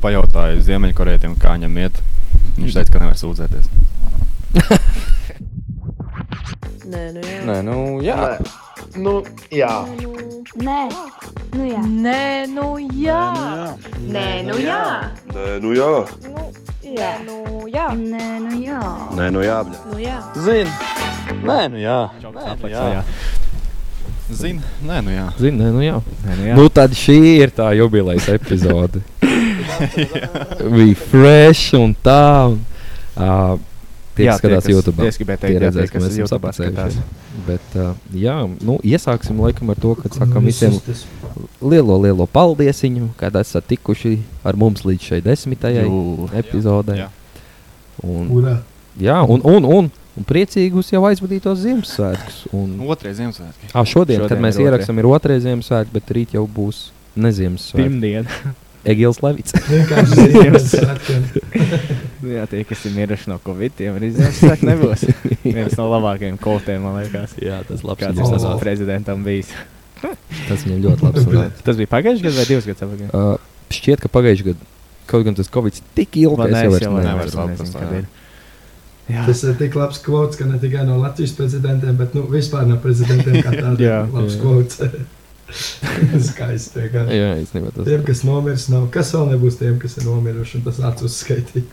pajautāju Ziemeļkorejiem, kā viņam iet. Viņš teica, ka nevar sūdzēties. Nē, nu jā. Nē, nu jā. Nē. Nu, jā. Nē, nu jā. Nē, nu jā. Nē, nu jā. Nē, nu jā. Nē, nu jā. Nē, nu jā. Nē, nu jā. Nu jā. Zini, nē, Zinu, nē, nu jā. Nē, nu jā. nu jā. Zini, nē, nu jā. Nē, nu, jā. Nu, tad šī ir tā jubilejas epizode. Bija fresh un tā. Un, uh, tie, Jā, kas skatās tie, kas- YouTube, tie, es gribēju teikt, jā, tie, ka kas mēs esam YouTube skatās. sapratējuši. Bet, uh, jā, nu, iesāksim laikam ar to, ka sakām visiem tas lielo, lielo paldiesiņu, kad esat tikuši ar mums līdz šai desmitajai Jū. epizodē. Jā. Un, kurā? jā, un, un, un, un priecīgus jau aizvadītos Ziemassvētkus. Un, Otrais Nu, Ziemassvētki. À, šodien, šodien, kad Šodien mēs ir otrie. ierakstām, ir otrais Ziemassvētku, bet rīt jau būs neziemasvētku. Pirmdiena, Egils Levits. Vienkārši Ziemassvētkiem. Nu jā, tie, kas ir miruši no Covid, tiem arī Ziemassvētku nebūs. Viens no labākajiem koltiem, man liekas. Jā, tas labs Kāds viņam ir Ziemassvētku. mūsu sanāca. prezidentam bijis? Tas viņam ļoti labi sanāca. Tas bija pagājušajā gadā vai divus gadus atpakaļ? Uh, šķiet, ka pagājušajā gadā kaut gan tas Covid tik ilgi, ka Vai es nē, es jau vairs jau nevaru nevaru. vairs saprast, nezinu, jā. kad ir. Jā, Tas ir tik labs kvots, ka ne tikai no Latvijas prezidentiem, bet nu, vispār no prezidentiem kā Jā, tādiem labs jā. kvots. Skaisti. vienkārši. Jā, īstenībā tas Tiem, kas nomirs, nav. Kas vēl nebūs tiem, kas ir nomiruši, un tas nāca uzskaitīt.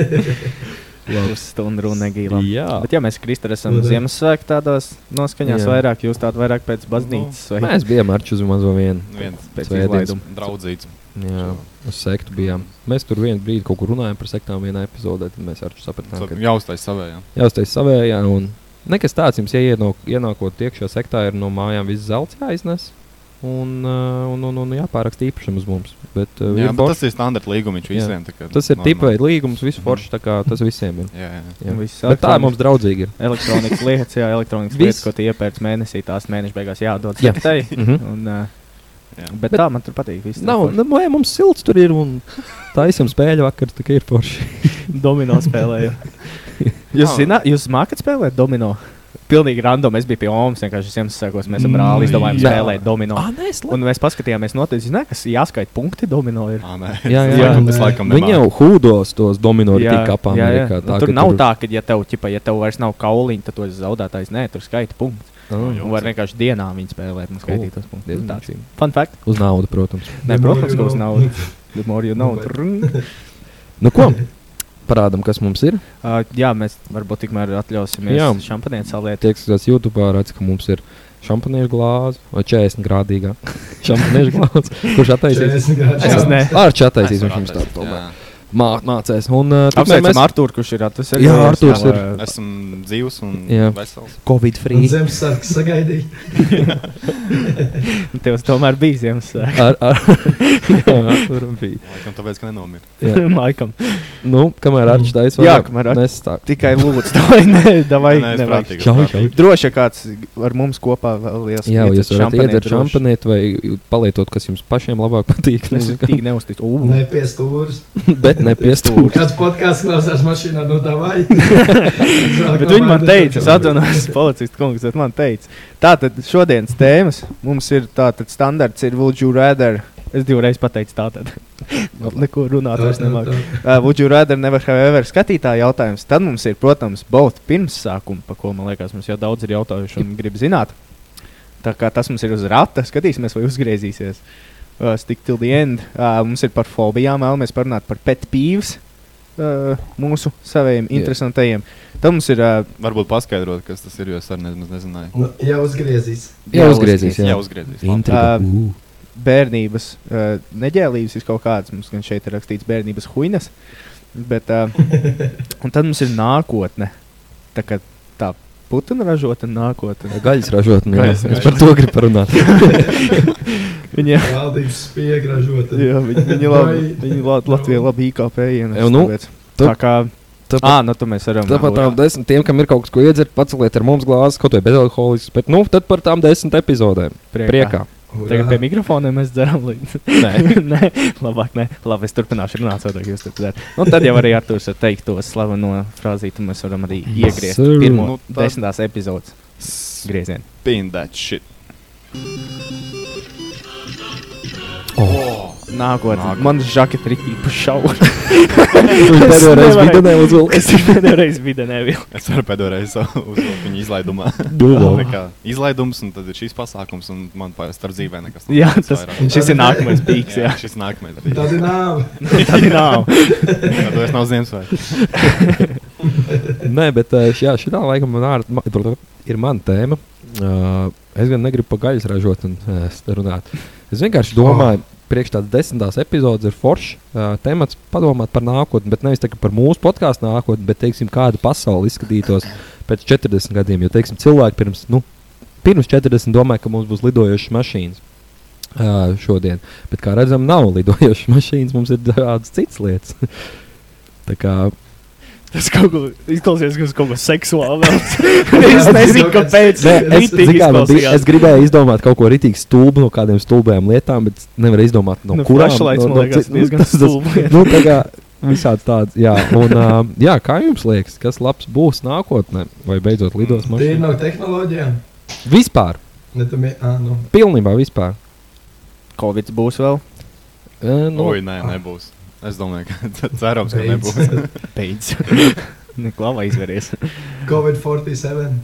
labi. pusstundu runa negīlām. Jā. Bet, ja mēs Kristāli esam Nu, tā. Ziemassvētku tādos noskaņās, Jā. vairāk jūs tādu vairāk pēc baznīcas vai Mēs bijām ar Čuzu mazo vienu. Nu, Viens pēc Svētdienas. izlaiduma. draudzīgs. Jā, uz sektu bijām. Mēs tur vienu brīdi kaut kur runājām par sektām vienā epizodē, tad mēs ar Čuzu sapratām, ka Jā, uztais savējā. jāuztais savējā. Un nekas tāds jums, ja ieno- ienākot iekšā sektā, ir no mājām viss zelts jāiznes. Un, uh, un, un, un jāpāraksta īpašam uz mums. Bet, uh, Jā, ir bet boš, tas ir standarta līgums Jā. visiem. tā kā tas ir normāli. tipveida līgums, viss forši. tā kā Tas visiem ir. Jā, jā. Jā. Un viss Bet tā elektronis- ir mums draudzīga. ir. Elektronikas lietas, jā, elektronikas Viss. lietas, ko tu iepērci mēnesī, tās mēneša beigās jādod Jā. sektei. Mhm. Un, uh, Jā. bet, bet tā man tur patīk. viss tur Nav, forši. nu, vai mums silts tur ir un taisam spēļu vakar, tā kā ir forši. Domino spēlēju. jūs Ah. zināt, jūs mākat spēlēt domino? Pilnīgi random. Es biju pie Omas, vienkārši Ziemassvētkos mēs ar Mm, brāli izdomājām jā. spēlēt Ah, domino. Ah, nē, es Un mēs paskatījāmies, noteikti, zini, kas jāskaita punkti domino. Ir. Ā, nē. Jā, Es jā. laikam- es laikam Viņi nemāku. jau hūdos tos domino rīkapām. jā, jā. Tā, Nu, tur nav tā, ka, ja tev, ķipa, ja tev vairs nav kauliņa, tad tu esi zaudētājs. Nē, tur skaita punkti. Oh, Un var vienkārši dienā viņa spēlēt un skaitīt tos punktus. Nu, tāds. Fun fact. Uz naudu, protams. Nē, The more protams, you ka uz know. naudu. The more you know. Nu, Trrrr. Nu, ko? Parādām, kas mums ir. Uh, jā, mēs varbūt tikmēr atļausimies Jā. šampaniet saliet. Tie, kas skatās YouTube, redz, ka mums ir šampaniešu glāze, vai 40 grādīgā šampaniešu glāze, kurš attaisīs. 40 grādi. Es ne. Ar čataisīs Es viņš varu mums tādu attaisīt, tomēr. jā. Mā, mācēs. Un uh, tikmēr Apsveicam Arthuru, kurš ir atvesējis. Jā, Arturs ir. Esmu dzīvs un Jā. vesels. Covid Un free. Zemesvētku sagaidīja. Tev tomēr bija Ziemassvētku. Ar, ar, jā, Artur bija. Laikam tāpēc, ka nenomiru. Jā. Laikam. Nu, kamēr Arčs taisa, Jā, kamēr Arčs- nestāk. Tikai lūdzu, tā nē, davai, Nē, nē, es nevajag. prātīgi, es Čau, prātīgi. Droši vien kāds ar mums kopā vēlējās. Jā, vai jūs varat iedzert šampanieti vai palietot, kas jums pašiem labāk patīk. Es nezinu. tik neusticu. Ū, Nē, pie stūres. Bet nepiestūri. Kāds podkāsts klausās mašīnā, nu tā vai. Bet viņi man teica, es atvainojos, policists kungs, bet man teica, tātad šodienas tēmas mums ir tātad standarts ir Would you rather? Es divreiz pateicu tātad. Neko runāt vairs nemāku. Uh, would you rather never have ever skatītāja jautājums? Tad mums ir, protams, both pirmsākuma, pa ko man liekas, mums jau daudz ir jautājuši un grib zināt. Tā kā tas mums ir uz rata, skatīsimies, vai uzgriezīsies. Uh, stick till the end. Uh, mums ir par fobijām, vēlamies parunāt par pet pīvs. Uh, mūsu saviem Jā. yeah. interesantajiem. Tad mums ir uh, Varbūt paskaidrot, kas tas ir, jo es arī nemaz nezināju. Jā, Nu, uzgriezīs. Jā, uzgriezīs. Jā, Jā, uzgriezīs. labi. Intriga. Ā, Ū. bērnības uh, neģēlības, ir kaut kādas, mums gan šeit ir rakstīts bērnības huīnas. Bet, uh, un tad mums ir nākotne. Tā kā tā putekļa ražota nākotne. Gaļas ražotne. jā. Gaļas Es par to gribu parunāt. Viņa, Valdības spiegražota. jā, viņa, viņa labi, viņa labi, Latvija labi IKP Jau ienes. nu, tāpēc. tu- tā kā, Tāpat- ā, nu, tu mēs varam. Tāpat tām desmit, tiem, kam ir kaut kas, ko iedzert, paceliet ar mums glāzi, kaut vai bezalkoholisks. Bet nu, tad par tām desmit epizodēm. Priekā. Tagad pie mikrofoniem mēs dzeram līdzi. nē, nē, labāk nē. Labi, es turpināšu runāt, tad jūs turpināt. Un tad jau arī Arturs var teikt to slaveno frāzīti, un mēs varam arī iegriezt Sir. Nu, pirmo nu, tad- desmitās epizodes griezienu. Spin that shit. nākotnē. Nākotne. Man žakets ir īpaši šaura. Es Viņš pēdējo reizi nevarēju. bija neuzvilka. Es viņu pēdējo reizi biju nevienu. Es varu pēdējo reizi uzvilkt viņu izlaidumā. Tā kā Izlaidums, un tad ir šīs pasākums, un man pa- starp dzīvē nekas nav. Jā, tas, šis ir nākamais pīks. Jā, Jā, šis nākamais Tad bija. ir nāve. Nu, tad nav. Tad es nav Ziemassvētku. Nē, bet eh, jā, šī tā laikam man ār, ma, br- ir mana tēma. Uh, es gan negribu par gaļas ražot un uh, runāt. Es vienkārši domāju, oh. priekš tādas desmitās epizodes ir foršs uh, temats padomāt par nākotni, bet nevis tā, ka par mūsu podkāstu nākotni, bet teiksim, kāda pasaule izskatītos pēc 40 gadiem. Jo teiksim, cilvēki pirms, nu, pirms 40 domāja, ka mums būs lidojošas mašīnas. Uh, šodien, bet kā redzam, nav lidojošas mašīnas, mums ir dažādas citas lietas. tā kā Tas kaut ko izklausās, ka tas kaut kas seksuāls. es nezinu, kāpēc. Nē, es, Ritīgi zini kā, man bija, izklausījās. es gribēju izdomāt kaut ko rītīgi stulbu no kādiem stulbiem lietām, bet nevaru izdomāt, no Nu, kurām flashlights, man liekas, cik- nu, diezgan tas- tas- stulba. Nu, tā kā visāds tāds, jā. Un, uh, jā, kā jums liekas, kas labs būs nākotnē, vai beidzot lidos Tie ir mašīnā? no tehnoloģijām. Vispār, Ne, tam ir. Ah, nu. pilnībā vispār. Covid būs vēl. E, nu, Oi, nē, nebūs. Es domāju, ka c- cerams, ka nebūs. Beidz. Neklāvā izveries. Covid-47.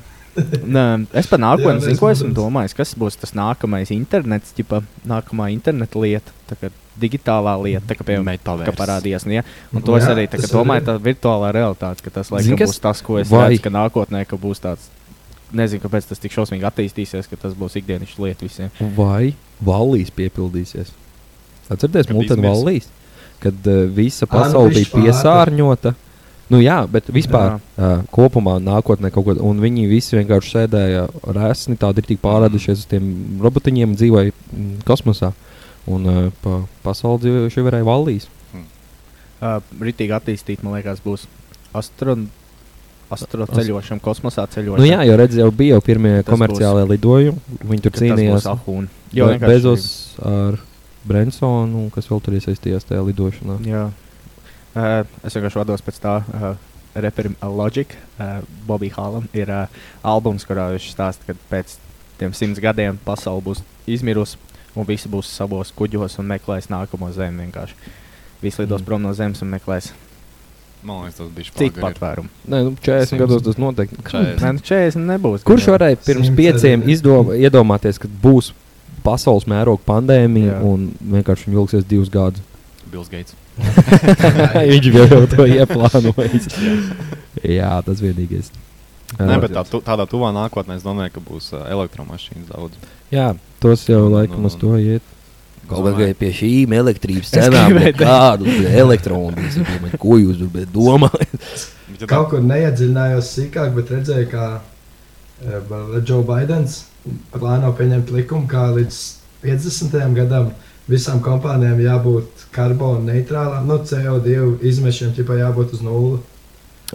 Nē, es par Jā, nākotnē zinu, ko es- esmu domājis. Kas būs tas nākamais internets, tipa, nākamā interneta lieta, tā kā digitālā lieta, tā kā piemēram Metaverse. ka parādījās. Nu, ja? Un to jā, es Jā, arī tā, kā tas domāju, arī. tā virtuālā realitāte, ka tas laikam, Zini, kas- būs tas, ko es vai- redzu, ka nākotnē ka būs tāds. Nezinu, kāpēc tas tik šausmīgi attīstīsies, ka tas būs ikdienišķa lieta visiem. vai valīs piepildīsies? Atcerieties, Kad Multan izmirs. valīs, kad uh, visa Ā, nu, pasaule bija višķi piesārņota. Nu, jā, bet vispār uh, kopumā nākotnē kaut ko tādu, un viņi visi vienkārši sēdēja rēsni, tādi ir tik Mhm. pārādušies uz tiem robotiņiem, un dzīvoja mm, kosmosā. Un uh, pa pasauli dzīvojuši varēja valīs. Uh, Ritīgi attīstīt, man liekas, būs astron... astroceļošana, kosmosā ceļošana. Nu, jā, jau redzēju, jau bija jau pirmie Tas komerciālie lidojumi, viņi tur ka tas būs cīnījās. ahūn. Jo, Jo, vienkārši- Bezos ar Brensonu, kas vēl tur iesaistījās tajā lidošanā. Jā. Uh, es vienkārši vados pēc tā. Uh, Reperim Logic, uh, Bobby Hālam, ir uh, albums, kurā viņš stāsta, ka pēc tiem simts gadiem pasaule būs izmirusi un visi būs savos kuģos un meklēs nākamo zemi. Vienkārši. Visi lidos Mm. mm. prom no zemes un meklēs Man liekas, tas bija citu patvērumu. Nē, nu, 40 Simts. gados tas noteikti. Nē, nu 40 nebūs. Kurš gan jau. varēja pirms Simts pieciem arī. izdom, iedomāties, ka būs pasaules mēroga pandēmija Jā. un vienkārši viņa ilgsies divus gadus? Bills Gates. Viņš jau jau to ieplānojis. Jā, tas vienīgais. Nē, bet tā, tu, tādā tuvā nākotnē es domāju, ka būs ā, elektromašīnas daudz. Jā, tos jau Nu, laikam uz to iet. Kaut vai pie šīm elektrības Es cenām, gribēju bet teikt. kādu elektronu, ko jūs domājat? Bet, ja Kaut kur neiedziļinājos sīkāk, bet redzēju, ka Džo Baidens plāno pieņemt likumu, ka līdz 50. gadam visām kompānijām jābūt karbona neitrālām, nu, no CO2 izmešiem tipā jābūt uz nulli.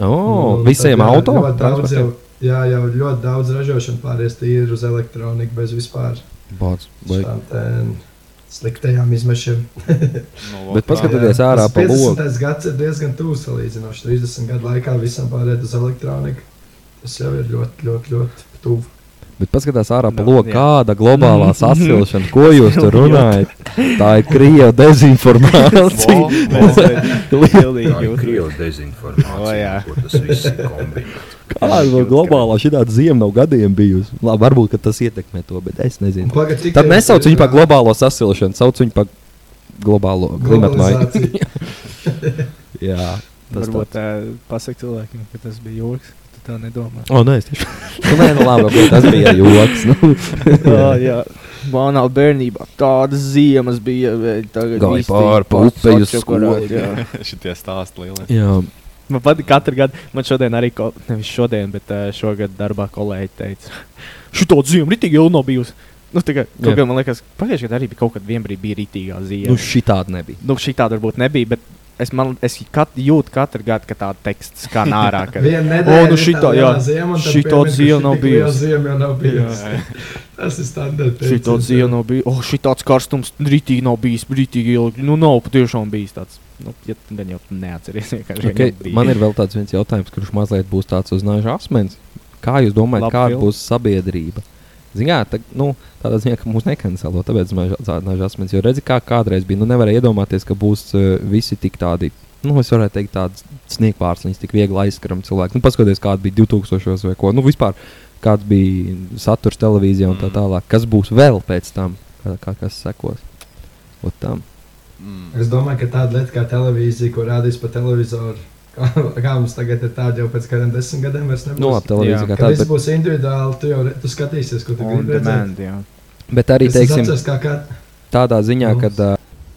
Oh, Un visiem tad, jā, auto? ļoti daudz jau- Jā, jau ļoti daudz ražošana pāries tīri uz elektroniku bez vispār Bāc, vai... šādām te sliktajām izmešiem. nu, Bet lok- paskatās- Paskatieties Jā, jā. ārā Tas pa logu. 50. gads ir diezgan tūs salīdzinoši. 30 gadu laikā visam pārēt uz elektroniku. Tas jau ir ļoti, ļoti, ļoti tuvu. Bet paskatās ārā pa Nu, loku, jā. kāda globālā sasilšana, ko jūs tur runājat. Tā ir krieva Vo, dezinformācija. Lielīgi jūt. Krievu O, jā. dezinformācija, ko tas viss ir kombinēts. Kāda vēl globālā šī tāda zima nav gadiem bijusi? Labi, varbūt ka tas ietekmē to, bet es nezinu. Tad nesauc viņu par globālo sasilšanu, sauc viņu par globālo klimatu maiņu. globalizāciju. Jā, tas ir. Varbūt uh, pasak cilvēkiem, ka tas bija joks, ka tu tā nedomā. O, nē, es tieši. Nu, nē, nu, labi, bet tas bija joks. Nu. Jā, jā. Manā bērnībā tādas ziemas bija. vei, Tagad Gāja viss pāri tik pa upei uz sačakarāt, skolu. jā. Šitie stāsti lielie. Jā, Man patīk katru gadu. Man šodien arī, ko, nevis šodien, bet ā, šogad darbā kolēģi teica, šī tāda ziema ritīgi jau nav bijusi. Nu, tā kā kaut Jā. kā man liekas, pagājušajā gadā arī bija kaut kad vienbrīd bija ritīgā ziema. nu šī tāda nebija. Nu, šī tāda varbūt nebija, bet es, man, es kat, jūtu katru gadu, ka tāda teksts skan ārā. Ka, Vienu O, nedēļu nu ir šitā, tā jā. lielā ziema, un tad Šitā piemin, ziema ka šī nav tik liela bijusi. ziema jau nav bijusi. Jā. Tas ir standarts. Šī tāda ziņa nav bijusi. Oh, šī tāds karstums rītīgi nav bijis. Rītīgi ilgi. Nu, nav patiešām bijis tāds. Nu, ja tu gan jau neatceries. vienkārši, ka Okay, nav bijis. man ir vēl tāds viens jautājums, kurš mazliet būs tāds uznāžu asmens. Kā jūs domājat, Labi, kāda Vil. būs sabiedrība, Zinām, tā, nu, tādā ziņā, ka mūs nekancelo. Tāpēc mēs tādas asmens, jo redzi, kā kādreiz bija. Nu, nevarēja iedomāties, ka būs uh, visi tik tādi. Nu, es varētu teikt, tādas sniegpārs, viņas tik viegli aizskaram cilvēku. Nu, paskaties, kāda bija 2000 vai ko. Nu, vispār, kāds bija saturs televīzijā un tā tālāk. Kas būs vēl pēc tam, kā, kā, kas sekos? Ot tam. Mm. Es domāju, ka tāda lieta kā televīzija, ko rādīs pa televizoru, kā, kā mums tagad ir tāda jau pēc kādiem desmit gadiem, vairs nebūs. Nu, labi, televīzija Jā. kā Kad viss tāda. būs individuāli, tu jau re, tu skatīsies, ko tu Un, gribi redzēt. demand, jā. Bet, bet arī, Es teiksim, atceros, kā kā tādā ziņā, Nu. ka.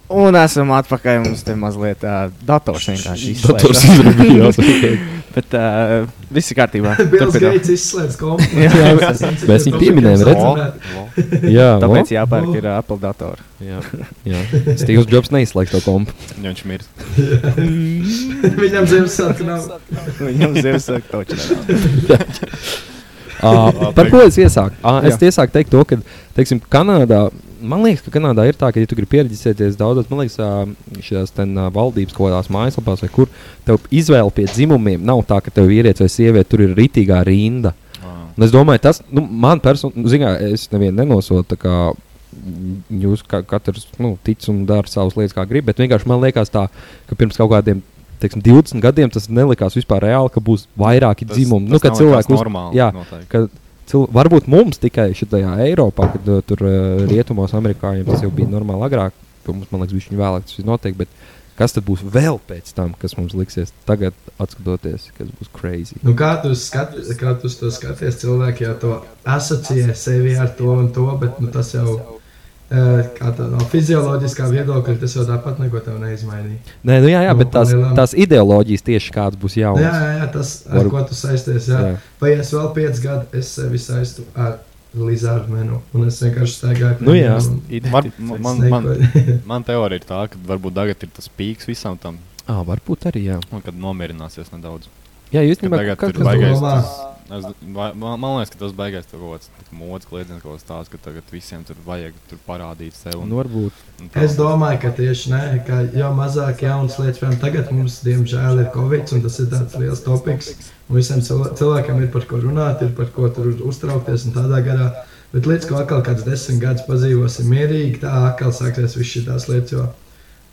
Uh, un esam atpakaļ. Mums te mazliet uh, dators vienkārši Dators izslēdzās. izrādījās. Bet uh, viss ir kārtībā. Bills Turpinām. Gates izslēdz Jā, komponentu. mēs- mēs viņu pieminējam, redzi? jā, Tāpēc jāpērk ir uh, Apple datori. Jā, jā. Steve's Jobs neizslēdz to kompu. Ja viņš mirst. Viņam Ziemassvētku nav. Viņam Ziemassvētku taču nav. Uh, par ko es iesāku? Uh, es Jā. tiesāku teikt to, ka, teiksim, Kanādā, man liekas, ka Kanādā ir tā, ka, ja tu gribi pieredzēties daudzos, man liekas, uh, šajās ten, uh, valdības kaut kādās mājaslapās vai kur, tev izvēle pie dzimumiem nav tā, ka tev vīrietis vai sieviete tur ir ritīgā rinda. Ah. Un es domāju, tas nu, man personīgi, zināmā mērā, es nevienu nenosodu. tā kā, mm, Jūs ka, katrs nu, tic un dara savas lietas, kā grib. Bet vienkārši man liekas, tā, ka pirms kaut kādiem teiksim, 20 gadiem tas nelikās vispār reāli, ka būs vairāki Tas- dzimumi. tas Nu, ka nav cilvēki nekas uz- normāli, Jā, noteikti. ka cil... varbūt mums tikai šajā Eiropā, kad uh, tur uh, rietumos amerikāņiem tas jau bija normāli agrāk. Tur Mums, man liekas, viņš ir vēlāk, tas ir noteikti. Bet kas tad būs vēl pēc tam, kas mums liksies tagad, atskatoties, kas būs crazy? Nu, kā tu, skati, kā tu uz to skaties, cilvēki jau to asociē sevi ar to un to, bet nu, tas jau eh, kā tā, no fizioloģiskā viedokļa tas jau tāpat neko tev neizmainīja. Nē, nu jā, jā Nu, bet tās, palielam. tās ideoloģijas tieši kādas būs Nu, Jā, jaunas. jā, jā tas, ar Varu- ko tu saisties, jā. Jā. Vai es vēl piecus gadus, es sevi saistu ar Lizardu menu, un es vienkārši staigāju. Nu jā. Man, man, man, man. man teorija ir tā, ka varbūt tagad ir tas pīks visam tam, À, varbūt arī jā. un kad nomierināsies nedaudz. Jā, jūs Ka ņemat tagad kaut ir kas baigais. tāds. domā? Es, vai- man, man liekas, ka tas beigās tur kaut kāds mods kliedziens, kaut kas tāds, ka tagad visiem tur vajag tur parādīt sevi. Un, Nu, varbūt. un tā. Es domāju, ka tieši nē, ka jau mazāk jaunas lietas, piemēram, tagad mums, diemžēl, ir Covid, un tas ir tāds liels topiks. Un visiem cilv- cilvēkiem ir par ko runāt, ir par ko tur uztraukties un tādā garā. Bet līdz ko atkal kāds desmit gadus padzīvosim mierīgi, tā atkal sāksies viss šīs lietas. Jo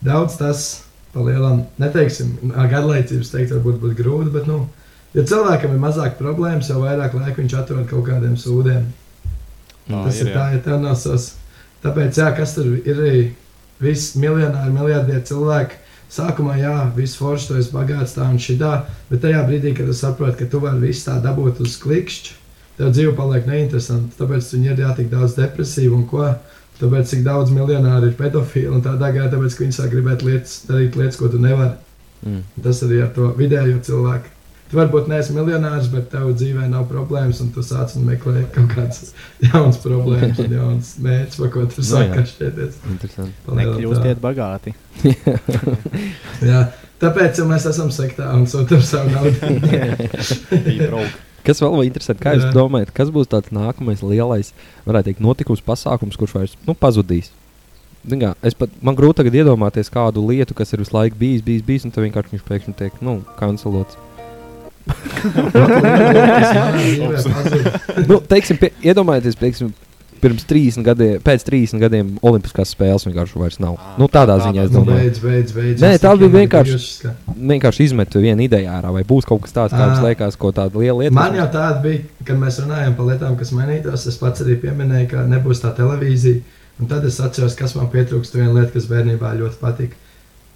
daudz tas palielam, neteiksim, nā, garlaicības teikt, varbūt būtu grūti, bet, nu, ja cilvēkam ir mazāk problēmas, jau vairāk laika viņš atrod kaut kādiem sūdiem. Tā Tas ir, ir tā, ja tev nav savs. Tāpēc, jā, kas tur ir arī viss miljonāri, miljardieri cilvēki. Sākumā, jā, viss forši, tu esi bagāts, tā un šitā, bet tajā brīdī, kad tu saproti, ka tu vari visu tā dabūt uz klikšķi, tev dzīve paliek neinteresanti. Tāpēc viņi ir jātik daudz depresīvu un ko. Tāpēc, cik daudz miljonāri ir pedofili un tādā gājā, tāpēc, ka viņi sāk gribēt lietas, darīt lietas, ko tu nevari. Mm. Tas arī ar to vidējo cilvēku. Tu varbūt neesi miljonārs, bet tev dzīvē nav problēmas, un tu sāc un meklē kaut kādas jaunas problēmas, un jaunas mērķis, par ko Nu tu jā. sāki šķieties. Interesanti. Nekļūstiet bagāti. Jā, tāpēc ja mēs esam sektā un sūtām savu naudu. Bija broke. Kas vēl ir interesanti? Kā jūs Jā. domājat, kas būs tāds nākamais lielais, varētu teikt, notikums, pasākums, kurš vairs nu, pazudīs? Zin Kā, es pat man grūti tagad iedomāties kādu lietu, kas ir visu laiku bijis, bijis, bijis, un tad vienkārši viņš pēkšņi tiek nu, kancelots. nu, teiksim, pie, iedomājieties, teiksim, pirms 30 gadiem, pēc 30 gadiem Olimpiskās spēles vienkārši vairs nav. Ā, Nu, tādā tā- ziņā tādā es domāju. Beidz, beidz, beidz. Nē, Es tā tikai bija man vienkārši- bijušas, ka- vienkārši izmetu vienu ideju ārā, vai būs kaut kas tāds, kā jums Ā. liekas, ko tāda liela lieta. Man jau tāda bija, kad mēs runājām par lietām, kas mainītos. Es pats arī pieminēju, ka nebūs tā televīzija. Un tad es atceros, kas man pietrūkst. Viena lieta, kas bērnībā ļoti patika.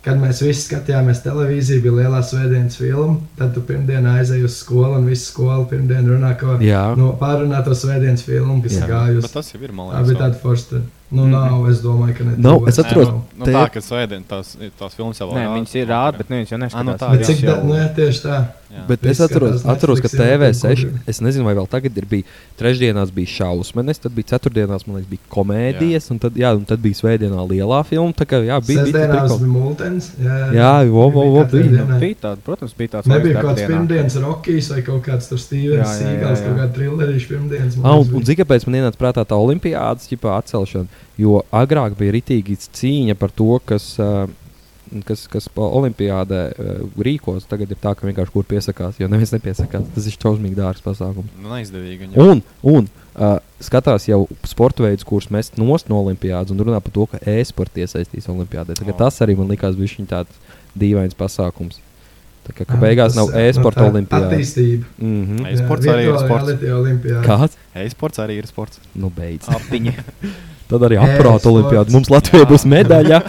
Kad mēs visi skatījāmies televīziju, bija lielā svētdienas filma. Tad tu pirmdienā aizēji uz skolu, un visa skola pirmdien runā ko Jā, no pārunāto svētdienas filmu, kas Jā. ir gājusi. Bet tas Mhm. jau ir, man Tā liekas. bija tāda forša. Nu, nav, es domāju, ka ne. Nav, tev es vairs atceros- nav. Nu, tā, ka svētdien tās, tās filmas jau Nē, rāda. viņas ir rādi, bet neviens jau Ah, nu neskatās. tā, Bet jā. cik tā, jau- nu, jā, tieši tā. Bet es Viss atceros, skatās atceros, ka Netflix, jā, TV6, kaut kur. es nezinu, vai vēl tagad ir bijis trešdienās, bija šausmas, tad bija ceturtdienās, man liekas, bija komēdijas, un tad, jā, un tad bija svētdienā lielā filma. Tā kā jā, bija bija Sestdienās tas bija multens. prikol- Jā, vo, vo, vo, Bija bija. katru dienu. Bija tāda, protams, bija tāds Nebija kaut kāds pirmdienas rokkīs vai kaut kāds tur Stevens Jā, jā, jā, Sīgals, jā. kaut kāda trillerīša pirmdienas. man Ah, un, liekas, un bija. zini, kāpēc man ienāca prātā tā olimpiādas ķipā atcelšana? Jo agrāk bija rītīgi cīņa par to, kas, ā, kas, kas pa olimpiādē eh, rīkos, tagad ir tā, ka vienkārši kur piesakās, jo neviens nepiesakās. Tas ir šausmīgi dārgs pasākums. Nu, neizdevīgi. jā. Un, un uh, skatās jau sporta veids, kurus mēs nost no olimpiādas un runā par to, ka e-sports iesaistīs olimpiādē. Tagad, O. Tas arī man likās bija šī tāds dīvains pasākums. Tā kā, ka Jā, beigās tas, nav jā, e-sporta tā olimpiāda. Attīstība. Mm -hmm. E-sports arī ir sports. sports. Kāds? E-sports arī ir sports. Nu, beidz. Apiņi. Tad arī apgāta E-sports. olimpiāda. Mums Latvijā būs medaļa.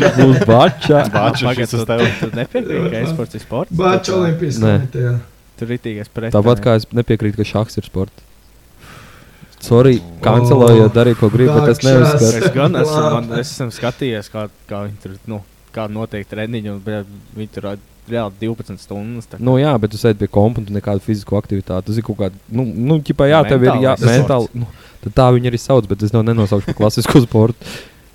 Bača. būs bača. Bača Pagaid, šis uz tu- tevi. Tu nepiekrīti, ka e-sports ir sports. Bāķa Olimpiskā Nē. komitejā. Tur ir tīkais pretējs. Tāpat kā es nepiekrītu, ka šachs ir sports. Sorry, kancelējiet, dariet, ko gribat, bet es Dakšas. neuzskatu. Es gan esmu, Labi. man, es esmu skatījies, kā, kā viņi tur nu, kā notiek treniņi, un bļa, viņi tur ā, reāli 12 stundas. tā kā. Nu, jā, bet tu sēdi pie komputa, nekādu fizisku aktivitāti. Tas ir kaut kāda, nu, nu ķipā, jā, tev ir jā, Mentālais mentāli. Nu, tad tā viņi arī sauc, bet es to nenosaukšu par klasisku sportu.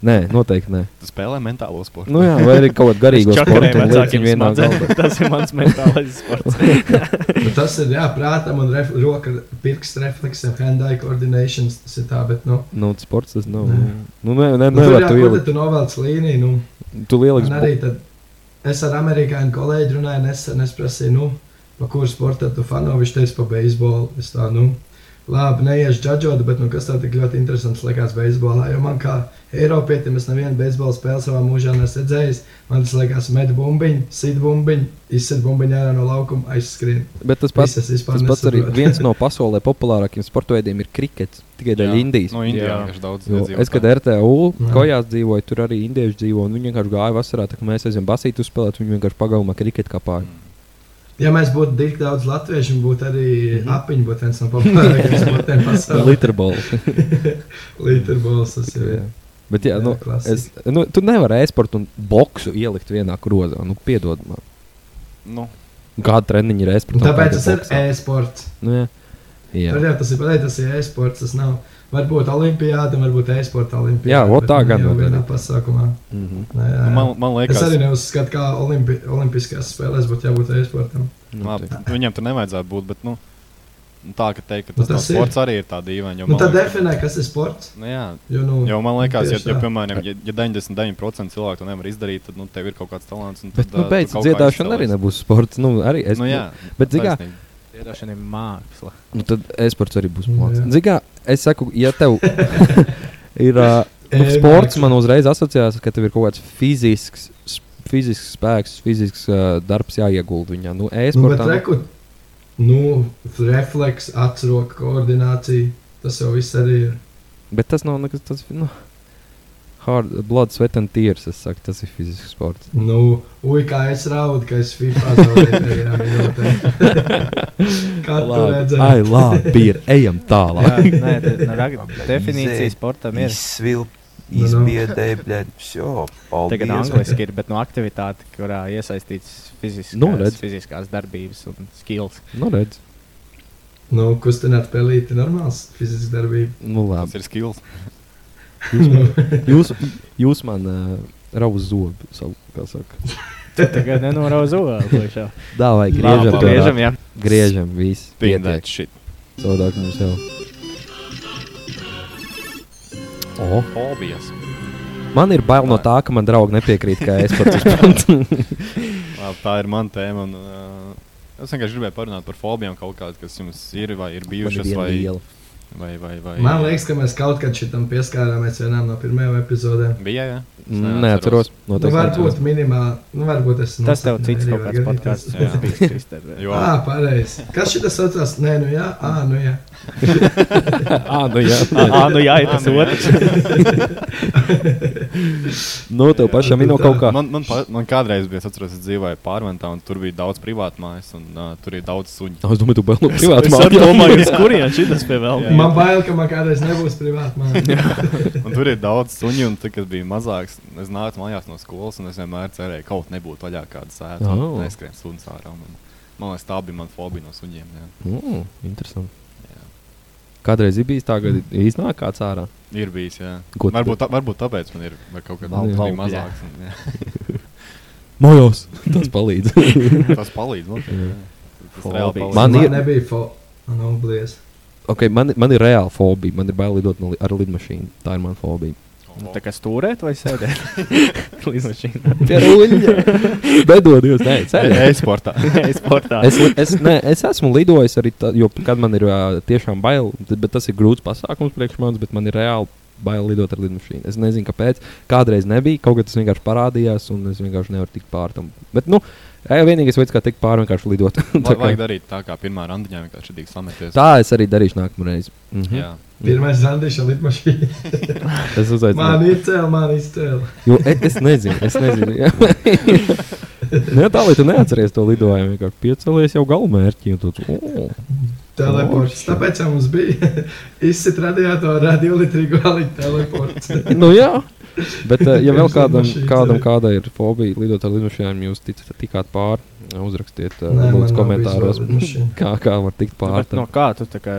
Nē, noteikti nē. Tu spēlē mentālo sportu. Nu, jā, vai arī kaut kāda garīga Es čakarēju sporta lieta vecākiem vienā galā. smadzenēm. Tas ir mans mentālais sports. Bet Nu, Tas ir jā, prātam un ref, roka, pirksts refleksiem, hand-eye coordination. Tas ir tā, bet nu. Nu, sports tas nav. Nē. Nu, nē, nē, Nu, nē, tur nē, tu jā, kur tad ieliec. tu novelc līniju? Nu, Tu ieliec. un arī tad es ar amerikāņu kolēģi runāju, nesen es prasīju, nu, pa kuru sportu tu fano, viņš teica pa beisbolu. Es tā, nu, labi, neiešu džadžot, bet nu, kas tā tik ļoti interesants likās beisbolā, jo man kā Eiropietim es nevienu beisbolu spēli savā mūžā neesmu redzējis. Man tas likās med bumbiņu, sit bumbiņu, izsit bumbiņu ārā no laukuma, aizskrien. Bet tas pats, Viss es vispār tas pats arī nesaprotu. viens no pasaulē populārākajiem sporta veidiem ir krikets. Tikai dēļ Indijas. No Indijas Nu, Jā. vienkārši daudz Jo iedzīvotāju. Es, kad er- RTU Jā. kājās dzīvoju, tur arī indieši dzīvo. un Viņi vienkārši gāja vasarā, tā kā mēs aizjām basīt uzspēlēt, viņi vienkārši pagalmā kriketā kāpāja. Ja mēs būtu tik daudz latviešu, būtu arī Mhm. mm -hmm. apiņš, būtu viens no populārākajiem sportiem pasaulē. Literbola. Literbols tas ir. jā. Bet, jā, Jā, nu, klasika. es, nu, tu nevari e-sportu un boksu ielikt vienā grozā. Nu, piedod man. Nu, Nu, Kāda treniņa ir Un e-sports? Tāpēc tas ir e-sports. Nu, jā. Jā. Tur jau tas ir pareizi, tas ir e-sports. Tas nav varbūt olimpiāda, varbūt e-sporta olimpiāda. Jā, vot bet tā nu gan jau var vienā pasākumā. Mhm. Nē, jā, nu, jā. man, man Es liekas, arī neuzskatu, kā olimpi olimpiskās spēlēs būtu jābūt e-sportam. Nu, labi, tā- viņam tur nevajadzētu būt, bet nu, nu, tā, ka teikt, ka Nu, tas, tas tas ir. sports arī ir tā dīvaini. jo Nu, man tad liekas- definē, kas ir sports. Nu, jā, Jo, nu, Jo man liekas, ja, Tieši ja tā. piemēram, ja, ja 99% cilvēku to nevar izdarīt, tad nu, tev ir kaut kāds talants. un Bet, tad, nu, ā, tu beidz, kaut kā dziedāšana arī izcelies. nebūs sports. Nu, arī es, Nu, jā, bet, zini kā, taisnība. Iedošana ir māksla. Nu, tad e-sports arī būs Nu, plāns. jā. Zinām, es saku, ja tev ir uh, nu, E-māksla. sports, man uzreiz asociējās, ka tev ir kaut kāds fizisks, s- fizisks spēks, fizisks uh, darbs jāiegulda viņā. Nu, Nu, bet e-sportā nu, reku, nu, refleks, atsroka, koordinācija. Tas jau viss arī ir. bet tas nav nekas tāds. Nu, Hard, blood, sweat and tears. Es saku, tas ir fizisks sports. Nu, ui, kā es raudu, ka es FIFA zaudēju. Kā tu Nu, Labi, redzēji? Nu, Ai, labi, ir. Ejam tālāk. Jā, nē, tā- nu, rag- definīcija sportam ir. Izsvilp, Nu, nu. izbiedē, blēd, vso, Tagad paldies. angliski ir, bet no aktivitāte, kurā iesaistīts fiziskās, Nu, redz. fiziskās darbības un skills. Nu, redz. Nu, kustināt pelīti normāls fizisks darbība. Nu, Tas labi. ir skills. Jūs man, jūs, jūs man uh, rauz zobu savu, kā saka. Tu tagad nenorauzi uzvārdu. Dā, vai Labi, griežam, to Griežam, jā. Griežam, viss. Pindēt šit. Savādāk mums jau. Oh. Hobijas. Man ir bail no tā, ka man draugi nepiekrīt, ka es pats esmu. Labi, tā ir mana tēma. Un, uh, es vienkārši gribēju parunāt par fobijām kaut kādas, kas jums ir vai ir bijušas. Vai, vai, vai, vai, Man liekas, ka mēs kaut kad šitam pieskārāmies vienā no pirmajām epizodēm. bija. Jā, Neatceros. Nu, Noteikti. varbūt minimāli, nu, varbūt es. Tas tev nosapņoju, cits arī kaut var kāds podkāsts. gadīties. Jā. Jā, Jo, Ā, pareizi. Kas šitas saucās? Nē, nu jā, ā, nu jā. Ah, nu jā. Ā, nu jā, ir tas nu jā. otrs. No Nu, tev pašam ir no kaut kā. man, man, pa- man kādreiz bija, es atceros, es dzīvoju pārventā, un tur bija daudz privātmājas, un uh, tur ir daudz suņu. Ah, Es domāju, tu bail no privātu Es arī domāju, mājas. uz kurien šis pie vēl. Jā. Man bail, ka man kādreiz nebūs privāti māja. Un tur ir daudz suņu, un tad, kad bija mazāks, es nācu mājās no skolas, un es vienmēr cerēju, ka kaut nebūtu vaļā kāda sēta. Oh. Oh. Neskrien suns ārā. Man, man liekas, tā bija mana fobija no suņiem. Jā. Mm, Interesanti. Kādreiz ir bijis tā, ka iznāk kāds ārā. Ir bijis, jā. Ko tu- Varbūt, tā, varbūt tāpēc man ir vai kaut kāda Val- līdzīga val- mazāks. Un, jā. Mājās. Tas palīdz. tas palīdz. Noteikti, jā. Tas Fobijas. reāli palīdz. Man ir- nebija fo. Nu, blies. okay, man, man ir reāla Nu, fobija. Man ir bail lidot no, li- ar lidmašīnu. Tā ir mana fobija. O, Tā kā stūrēt vai sēdēt? lidmašīnā. Tie ruļļi. Bedodies, nē, ceļā. E-sportā. Nē, sportā. Es, li- es, nē, es esmu lidojis arī, tā, jo, kad man ir ā, tiešām bail, t- bet tas ir grūts pasākums priekš manis, bet man ir reāli bail lidot ar lidmašīnu. Es nezinu, kāpēc. Kādreiz nebija, kaut kas tas vienkārši parādījās, un es vienkārši nevaru tikt pāri tam. Bet, nu, ē, vienīgais veids, kā tikt pāri, ir vienkārši lidot. Tā tā, vajag kā, darīt tā, kā pirmā randiņā vienkārši tik sameties. tā es arī darīšu nākamreiz. Mhm. Jā. Pirmais zandīša lidmašīna. Es Man uzaicinu. izcēla, man izcēla. Jo, es, es nezinu, es nezinu. jā. Nē, tā lai tu neatceries to lidojumu. Vienkārši piecelies jau galamērķī. un tu tāds, "O." Teleports. Tāpēc jau mums bija izsit radiatoru, radiolitrīgu alīt teleports. nu, jā. Bet, eh, ja vēl Pirms kādam, lidmašīnas kādam arī. kāda ir fobija lidot ar lidmašīnām, jūs ticat, tikāt pāri, uzrakstiet eh, Nē, man lūdzu nav komentāros, vizuāla lidmašīna. kā, kā var tikt Nu, pāri. bet No tam. kā tu tā kā.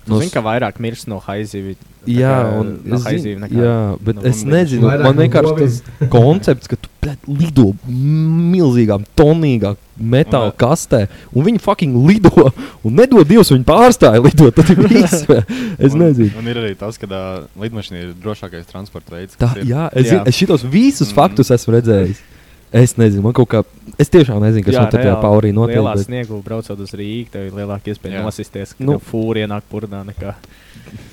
Tu No zini, s- ka vairāk mirst no haizīvi. Jā, un no es haizīvi zinu, nekā. jā, bet no es bumbiņas. nezinu, Vairāk man no vienkārši tas koncepts, ka tu bļet, lido milzīgām, tonīgām metāla Un, eh, kastē, un viņi fucking lido, un nedod Dievs, viņi pārstāja lidot. Tad ir viss, vai? es Un- nezinu. Un ir arī tas, ka ā, lidmašīna ir drošākais transporta veids. Tā, kas ir. jā, es, jā. Jā. Mm. es šitos visus Mhm. faktus esmu redzējis. Es nezinu, man kaut kā. Es tiešām nezinu, kas Jā, man te tajā reāli paurī notiek. Lielā bet- sniegu braucot uz Rīgā, tev ir lielāka iespēja Jā. nosisties, ka Nu. nu. fūri ienāk purnā nekā.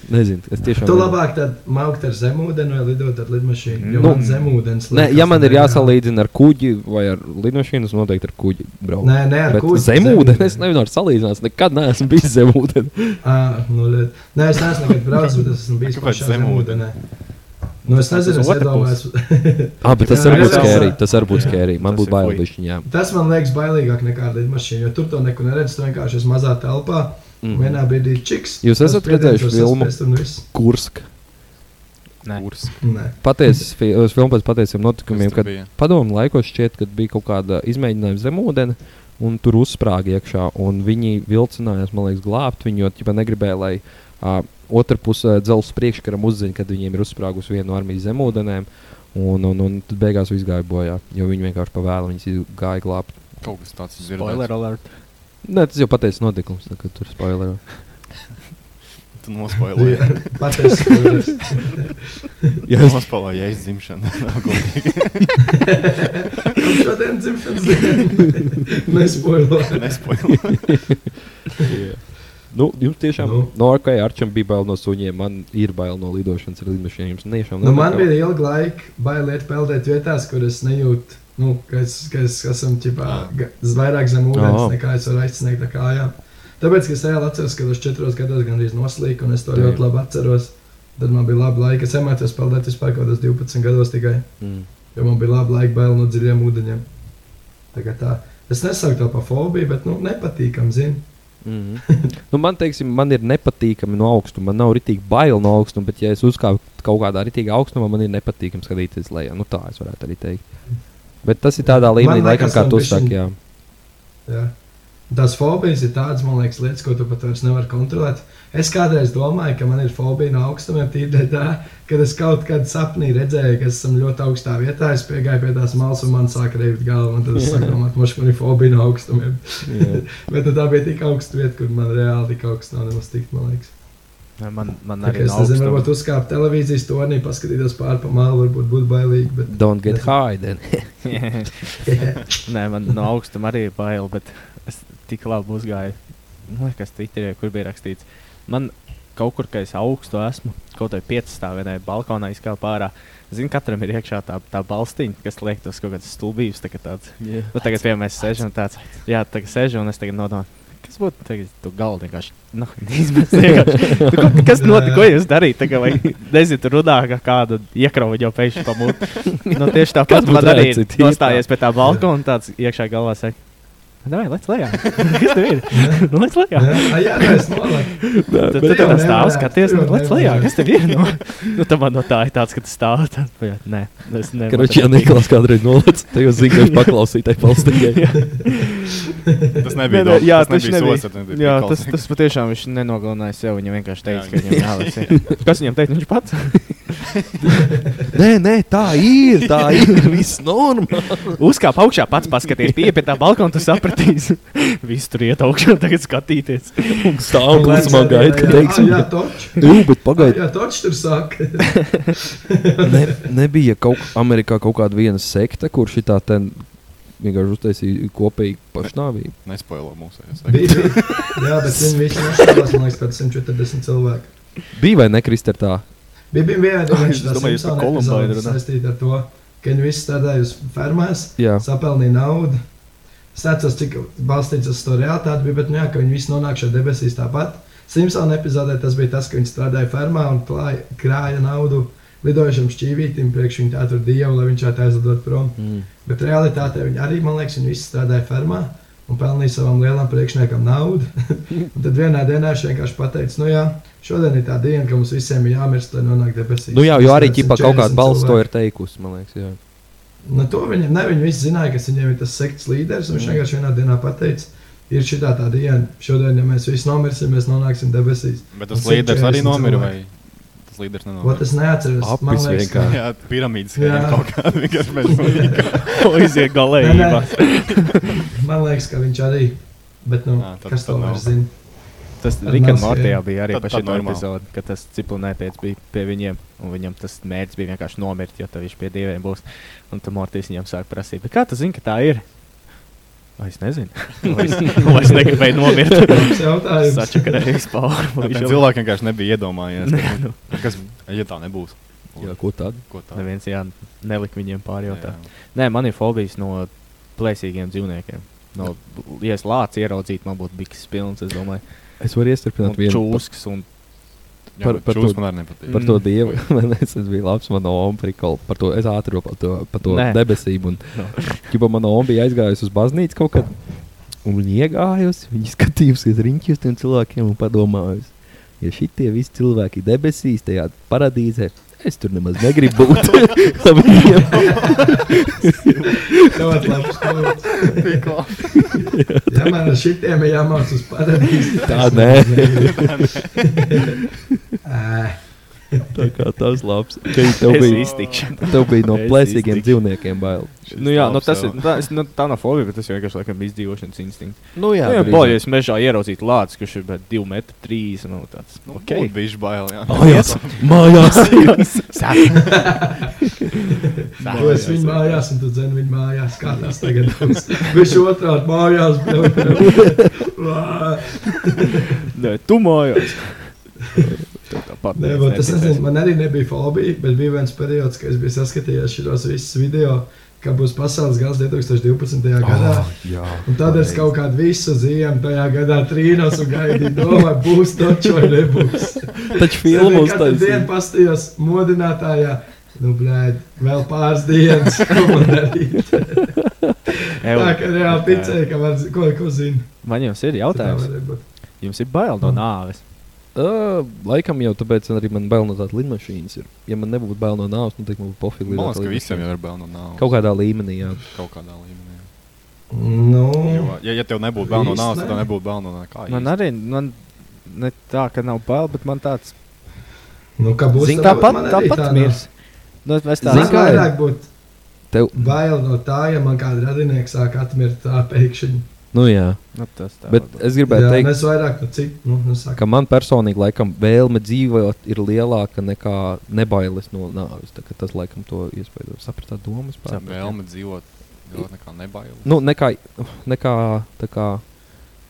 Nezinu, es tiešām. Tu nezinu. labāk tad maukt ar zemūdeni vai lidot ar lidmašīnu. Jo Nu, man zemūdens. Nē, liekas ja man ir nereāli. jāsalīdzina ar kuģi vai ar lidmašīnu, es noteikti ar kuģi braucu. Nē, nē, ar Bet kuģi, zemūdens es nevaru salīdzināt. Nekad neesmu bijis zemūdens. Ā, nu, liet- Nē, es neesmu nekad braucis, bet es esmu bijis Kāpēc pašā zemūdenē? zemūdenē. Nu, es nezinu, es otra iedomājos. Ah, bet tas Jā, var būt jā, jā. skērī. Tas var būt skērī. Man Tas būtu ir bail fuj. bišķiņā. Tas man liekas bailīgāk nekā lidmašīna, jo tur to neko neredz. Tu vienkārši esi mazā telpā. Mm. Vienā brīdī ir čiks. Jūs tas esat redzējuši spiediens, tu filmu? saspiest un viss. Kursk. Kurs. Nē, Patiesas fi- uz filmu pēc patiesiem Kas notikumiem, tur kad bija? padomu laikos šķiet, kad bija kaut kāda izmēģinājuma zem ūdeni, un tur uzsprāga iekšā. un Viņi vilcinājās, man liekas, glābt viņu, jo viņi negribēja, lai uh, otra puse dzelzs priekškaram uzzina, kad viņiem ir uzsprāgusi viena no armijas zemūdenēm. Un, un, un tad beigās viss gāja bojā, jo viņi vienkārši pavēla viņas gāja glābt. Kaut kas tāds ir. Spoiler alert. Nē, tas jau pateicis notikums, tā, kad tur spoilerē. Tu nospoilēji. patiesi. Jā, es nospoilēju, ja es dzimšanu. Nav godīgi. Šodien dzimšanas dienā. Nespoilēju. Nespoilēju. Nu, jums tiešām, nu. Nu. no ok, Arčam bija bail no suņiem, man ir bail no lidošanas ar lidmašīnām. Jums tiešām Nu, man nepatīk? bija ilga laika bailēt peldēt vietās, kur es nejūtu, nu, ka es, ka es esmu ķipā, ga- z- vairāk zem ūdens, Aha. oh. nekā es varu aizsniegt ar kājām. Tāpēc, ka es reāli atceros, ka es četros gados gandrīz noslīku, un es to Jā. ļoti labi atceros. Tad man bija laba laika. Es iemācījos peldēt vispār kaut kādos 12 gados tikai, Mm. jo man bija laba laika bail no dziļiem ūdeņiem. Tā kā tā. Es nesaucu to par fobiju, bet nu, nepatīkam, zinu. Mm -hmm. nu, man, teiksim, man ir nepatīkami no augstuma. Man nav rītīgi bail no augstuma, bet, ja es uzkāpu kaut kādā rītīgā augstumā, man ir nepatīkami skatīties lejā. Nu, tā es varētu arī teikt. Bet tas ir tādā līmenī, Man laikam, liekas, kā man tu bišķiņ- saki. Jā. Jā. Tās fobijas ir tādas, man liekas, lietas, ko tu pat vairs nevari kontrolēt. Es kādreiz domāju, ka man ir fobija no augstumiem, tīri tā, kad es kaut kādā sapnī redzēju, ka esmu ļoti augstā vietā, es piegāju pie tās malas un man sāka reivīt galva. un Tad es saku, man, moši, man ir fobija no augstumiem. Bet nu tā bija tik augsta vieta, kur man reāli tik augsts nav nemaz tikt, man liekas. Nē, Man, man Tā kā arī Es nezinu, nav. varbūt uzkāpt televīzijas tornī, paskatīties pāri pa malu, varbūt būtu bailīgi. Bet... Don't get high. Then. Nē, man no augstuma arī ir bail, bet es tik labi uzgāju. Man liekas, Twitterī, kur bija rakstīts. Man kaut kur, ka es augstu esmu, kaut vai piecstāvēnē, balkonā izkāpu ārā. Zinu, katram ir iekšā tā, tā balstīņa, kas liek tas kaut kāds stulbības. Tā kā tāds. Nu, tagad vienmēr mēs sēžam tāds. Jā, tagad sēžam un es tagad nodomāju. Kas būtu tagad? Tu galdi vienkārši. Nu, izmest vienkārši. Nu, ko- Kas notika? Ko jūs darījāt? Tagad vai nezinu, tur runā, ka kādu iekrauju jau pēkšņi pamūta. Nu, tieši Kas tāpat būtu man arī ir reakcija? Tīri nostājies pie tā balkona un tāds iekšā galvā saka. Davai, lec lejā. Kas tev ir? Nu, lec Jā, lejā. Ai, jā, tā es nolaidu. Tad bet tu jau tā stāv, nevarētu, skaties, jau nu, lec lejā. nevarētu. Kas tev ir? Nu, nu tā man no tā ir tāds, ka tu stāv. tā, jā, Nē, es nevaru. Karoči, ja Niklaus kādreiz nolaists, tad jūs zināt, ka viņš paklausītāji palstīja. Tas Nē, nebija nē, daudz. jā, tas tas nebija nebija. sots. tas nebija Jā, prikals. tas, tas patiešām viņš nenogalināja sevi. Viņam vienkārši teica, Jā, ka viņam jālasa. Kas viņam teica? Viņš pats. nē, nē, tā ir. Tā ir viss normāli. Uzkāp augšā, pats paskaties, pie pie tā balkona, tu sapratīsi. Viss tur iet augšā, tagad skatīties. Stāv klusumā gaida, ka teiks. teiksim. Jā, toč. Jū, bet pagaidi, Jā, toč tur saka. ne, nebija kaut, Amerikā kaut kāda viena sekta, kur šī tā ten vienkārši uztaisīja kopīgi pašnāvību. Nespoilo mūsu. es saku. Bija- Jā, bet viņi visi nošķirās, man liekas, pēc 140 cilvēku. Bija vai ne, Kristē, tā? Bija bija viena Ai, es no tām domāju, jūs par Columbine runājat. saistīta ar to, ka viņi visi strādāja uz fermās, Jā. sapelnīja naudu. Es neatceros, cik balstīts uz to realitāti bija, bet nu, jā, ka viņi visi nonāk šajā debesīs tāpat. Simpsona epizodē tas bija tas, ka viņi strādāja fermā un plāja, krāja naudu lidojušam šķīvītim, priekš viņa tā tur dievu, lai viņš tā aizlidot prom. Mm. Bet realitātē viņi arī, man liekas, viņi visi strādāja fermā un pelnīja savam lielam priekšniekam naudu. Un tad vienā dienā viņš vienkārši pateica, nu jā, šodien ir tā diena, ka mums visiem ir jāmirst, lai nonāktu debesīs. Nu jā, jo arī Tāpēc ir ķipa kaut kāda 40 balss to cilvēki. ir teikusi, man liekas. Jā. Nu, to viņam, ne, viņi visi zināja, kas viņiem ir tas sekts Mm. līderis. un Viņš vienkārši vienā dienā pateica, ir šī tā diena, šodien, ja mēs visi nomirsim, mēs nonāksim debesīs. Bet tas Un līderis arī 140 nomira vai cilvēki. tas līderis Ko nenomira? tas neatceras? Man Apis liekas, vienkārši. Jā, piramīdas Jā. schēma kaut kāda vienkārši mēs. Iziet Nē, galējībā. nē. man liekas, ka viņš arī. Bet, nu, Ā, tad- kas tad to nav. vairs zina? Tas Tad Rikas nav Mortijā sieva. bija arī Tad- par tad šo normāli. epizodi, ka tas ciprunētājs bija pie viņiem, un viņam tas mērķis bija vienkārši nomirt, jo tad viņš pie dieviem būs. Un tad Mortijs viņam sāk prasīt, "Bet kā tu zini, ka tā ir? Vai es nezinu. Vai es, vai es negribēju nomirt. Tas jautājums. Saču, ka reiz Tiem pāri. cilvēkiem vienkārši nebija iedomājies, ka- nu. kas, ja tā nebūs, jā, ko tad? ko tā Neviens jā, nelika viņiem pārjautāt. Jā. Nē, man ir fobijas no plēsīgiem dzīvniekiem. No, ja es lācu ieraudzītu, man būtu bijis pilns, es domāju, Es varu un iestarpināt vienu par, čūskas un Jā, Par- par, par par to to- man arī nepatīk. par Mm. to dievu. Man liekas, tas bija labs mano omprikola. Par to es ātri par to, par to Nē. debesību. Un, No. Ķipa mana omba bija aizgājusi uz baznīcu kaut kad. Un viņa iegājusi, viņa skatījusies riņķi uz tiem cilvēkiem un padomājusi. Ja šitie visi cilvēki debesīs, tajā paradīzē, es tur nemaz negribu būt. Ar viņiem. Ļoti labs komentārs. Ja man ar šitiem ir jāmācās uz paradīzi, Tā es nē. nezinu. Ē, Tā kā tas labs. Čei, Tev es bija, iztikšu. tev bija no Es plēsīgiem iztikšu. dzīvniekiem bail. Nu, jā, nu, labs tas jau. ir tā, es, nu, tā nav fobija, bet tas vienkārši laikam izdzīvošanas instinkts. Nu Jā, jā boļ, ja es mežā ieraudzītu lācis, kurš ir bet 2 metri 3 un tāds. Nu, ok. Oh, okay. Bija bail, jā. Mājās! Mājās! Tu esi viņu mājās, un tu dzēri viņu mājās. Kā tas tagad būs? Viņš otrādi mājās. bļauj. Vā. Nē, tu mājās. Tev Tāpat. Nē, bet es nezinu, man arī nebija fobija, bet bija viens periods, kad es biju saskatījies šos visus video, ka būs pasaules gals 2012. gadā. jā. Un tad es kaut kādu visu ziemu tajā gadā trīnos un gaidīju, domāju, būs taču vai nebūs. Taču filmos tā tas diena ir. pastījos modinātājā. Nu, blēd, vēl pāris dienas, ko man darīt. Tā kā reāli ticēju, ka man ko, ko zinu. Man jums ir jautājums. Jums ir bail no nāves. Uh, laikam jau tāpēc arī man bail no tādas lidmašīnas. Ir. Ja man nebūtu bail no nāves, nu, tad man būtu pofīgi. Man lidot liekas, ka lidmašīnā. visiem jau ir bail no naudas. kaut kādā līmenī. Jā. kaut kādā līmenī. Nu, Jo, ja, ja tev nebūtu bail no Īsti naudas, tad tev ne. nebūtu bail no nekā. Man arī, man ne tā, ka nav bail, bet man tāds. nu, kā būs Zin, tāpat, tāpat mirs. Nu, es tā Tā Zini, kā kā ir? vairāk būtu Tev, bail no tā, ja man kāda radinieka sāk atmirt tā pēkšņi. nu, jā. Nu, tas tā. Bet varbūt. es gribēju Jā, jā, teikt, mēs vairāk no citu, nu, nu mēs... saka. ka man personīgi laikam, vēlme dzīvot ir lielāka nekā nebailes no nāves. Tā kā Tas laikam to iespēju saprast, domas Tā par vēlme dzīvot, dzīvot nekā nebail. Nu, nekā, nekā tā kā.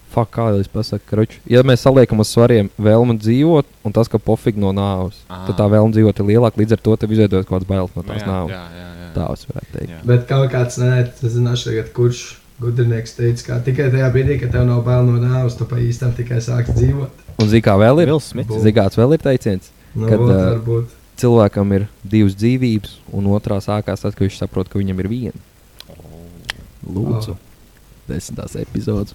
Fak, kā jau es pasaku, kruču. Ja mēs saliekam uz svariem vēlmu dzīvot un tas, ka pofīgi no nāves, Ā. tad tā vēlme dzīvot ir lielāka. Līdz ar to tev izveidojas kaut kāds bailes no Nu tās jā, nāves. jā, jā, jā. Tā es varētu teikt. Jā. Bet kaut kāds, nē, tas zināšu tagad, kurš gudrinieks teica, ka tikai tajā brīdī, kad tev nav bail no nāves, tu pa īstam tikai sāks dzīvot. Un zina, kā vēl ir? Vils Smits. Zina, kāds vēl ir teiciens. Nu, Kad, kad, ā, varbūt. Cilvēkam ir divas dzīvības, un otrā sākās tad, kad viņš saprot, ka viņam ir viena. Lūdzu, Oh. desmitās epizodes.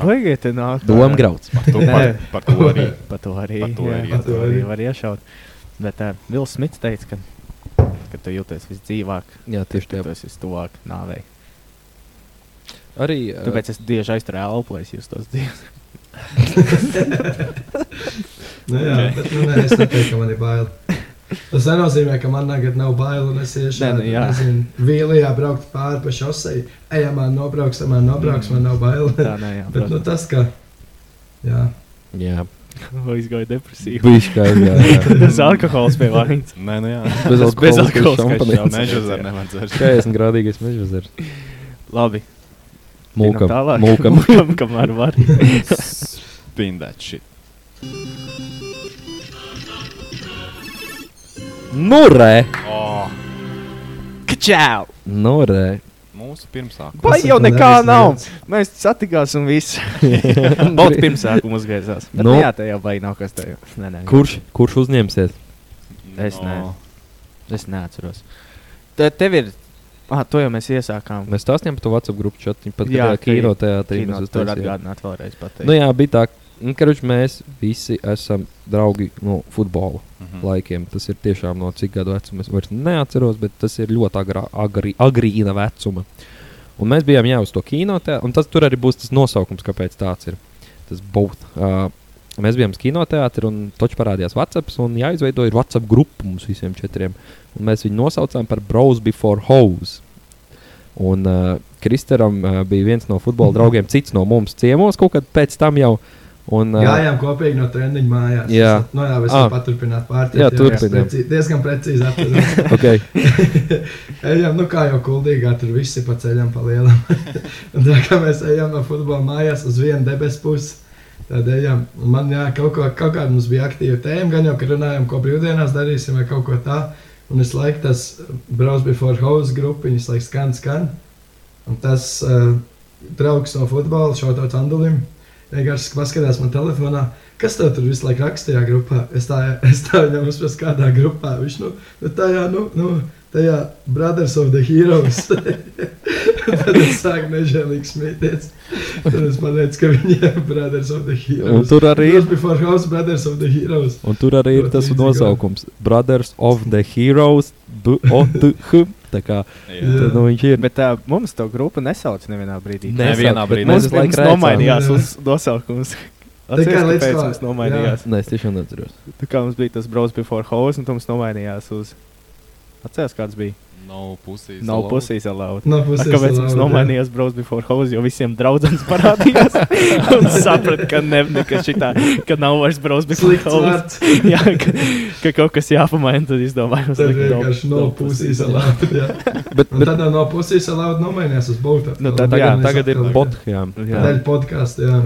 Baigiet, te nāk. Domāgrauds. Par, to, par, Nē. par to arī. Par to arī, Par to jā, arī, par jā. to arī var iešaut. Bet uh, Vils Smits teica, ka, ka tu jūties visdzīvāk, Jā, tieši ka tu tā. esi vistuvāk nāvei. Arī ā, Tāpēc es tieši aizturēju elpu, lai es jūs tos dzīvoju. Nu, jā, bet, nu, nē, es neteiktu, ka man ir bail. Tas nenozīmē, ka man tagad nav bail un es iešu Nē, nu jā. vīlijā braukt pāri pa šosei. Ejam, man nobrauks, tam man nobrauks, man nav bail. Tā nē, jā. Bet nu, tas, ka. Jā, Jā, Vai izgāja depresija? bija skaidrs. Tas alkohols pie vārnītes. Nē, nu jā. Bez bezalkoholiskais Jā, šampanītes. meža zara nevar dzert. 40 grādīgais mežvazars. Labi. Mūkam. Ejam tālāk. Mūkam. Mūkam, kamēr var. Spin that shit. Nu, re! Oh, Kačau! Nu, re! mūsu pirmsākums. Vai Tas jau ir nekā nevis nav? neviens. Mēs satikās un viss. Balts pirmsākums gaisās. Nu. Nu. Jā, tajā vai nav kas tajā. Nē, nē. Kurš, kurš uzņemsies? Es nē. Es neatceros. Tad tev ir. Ah, to jau mēs iesākām. Mēs stāstījām par to WhatsApp grupu čatu. Pat jā, Jā, kino tajā Kino, trījā. tur atgādināt vēlreiz pateikt. Nu, jā, bija tā, ka mēs visi esam draugi no futbola Mhm. laikiem. Tas ir tiešām no cik gadu vecuma es vairs neatceros, bet tas ir ļoti agrā, agri, agrīna vecuma. Un mēs bijām jau uz to kinoteātrī, un tas tur arī būs tas nosaukums, kāpēc tāds ir. Tas būs. Uh, mēs bijām uz kinoteātrī, un toķis parādījās WhatsApp, un jāizveidoja WhatsApp grupa mums visiem četriem. Un mēs viņu nosaucām par Browse Before Hose. Un uh, Kristēram uh, bija viens no futbola draugiem, cits no mums ciemos kaut kad pēc tam jau. Un, gājām kopīgi no treniņa mājās. Jā. Es- Nu, jā, es Ah. varu paturpināt pārtikt. Jā, jo es turpinām. preci- Diezgan precīzi atceros. okay. ejam, nu kā jau kuldīgā, tur visi pa ceļam pa lielam. un tā kā mēs ejam no futbola mājās uz vienu debesu pusi. Tad ejam. Un Man jā, kaut, ko, kaut kāda mums bija aktīva tēma, gan jau, ka runājām, ko brīvdienās darīsim vai kaut ko tādu. Un es laiku tas braucu before house grupiņas, laikam skan, skan. Un tas uh, draugs no futbola, šautot Andulim, vienkārši paskatījās man telefonā, kas tev tur visu laiku rakstīja grupā. Es tā, es tā viņam uzspēju, kādā grupā viņš nu, nu tajā, nu, nu, tajā Brothers of the Heroes. Tad es sāku nežēlīgi smieties. Tad es pateicu, ka viņi ir Brothers of the Un Heroes. tur arī ir Braucu before house, Brothers of the Heroes. Un tur arī ir Ļoti tas līdzīga. nosaukums Brothers of the Heroes. B o t h Tā kā Jā. tad, nu, viņš ir. Bet tā, mums to grupu nesauc nevienā brīdī. Ne. nevienā brīdī. Mēs Mums Mums visu laiku laikam redzam. nomainījās Jā. uz nosaukums. Tikai Atceries, līdz kāpēc kā- mums nomainījās? Nē, es tiešām nezinu. Tā kā mums bija tas Browse Before House, un tu mums nomainījās uz... Atceries, kāds bija? Nav pusīs. Nav allowed. pusīs allowed. No A, puses, Kāpēc mums nomainījās Browse Before House, jo visiem draugiem parādījās? un sapratu, ka, ne, ne, ka, šitā, ka nav vairs Browse Before Slikts House. vārds. Jā, ka, ka kaut kas jāpamaina, tad izdomājums. Tad vienkārši no puses alauda. Bet, Un bet tad no puses alauda nomainījās uz Bolta. Nu, tad tagad, jā, tagad ir botām. Jā, Daļa podkāstu, jā.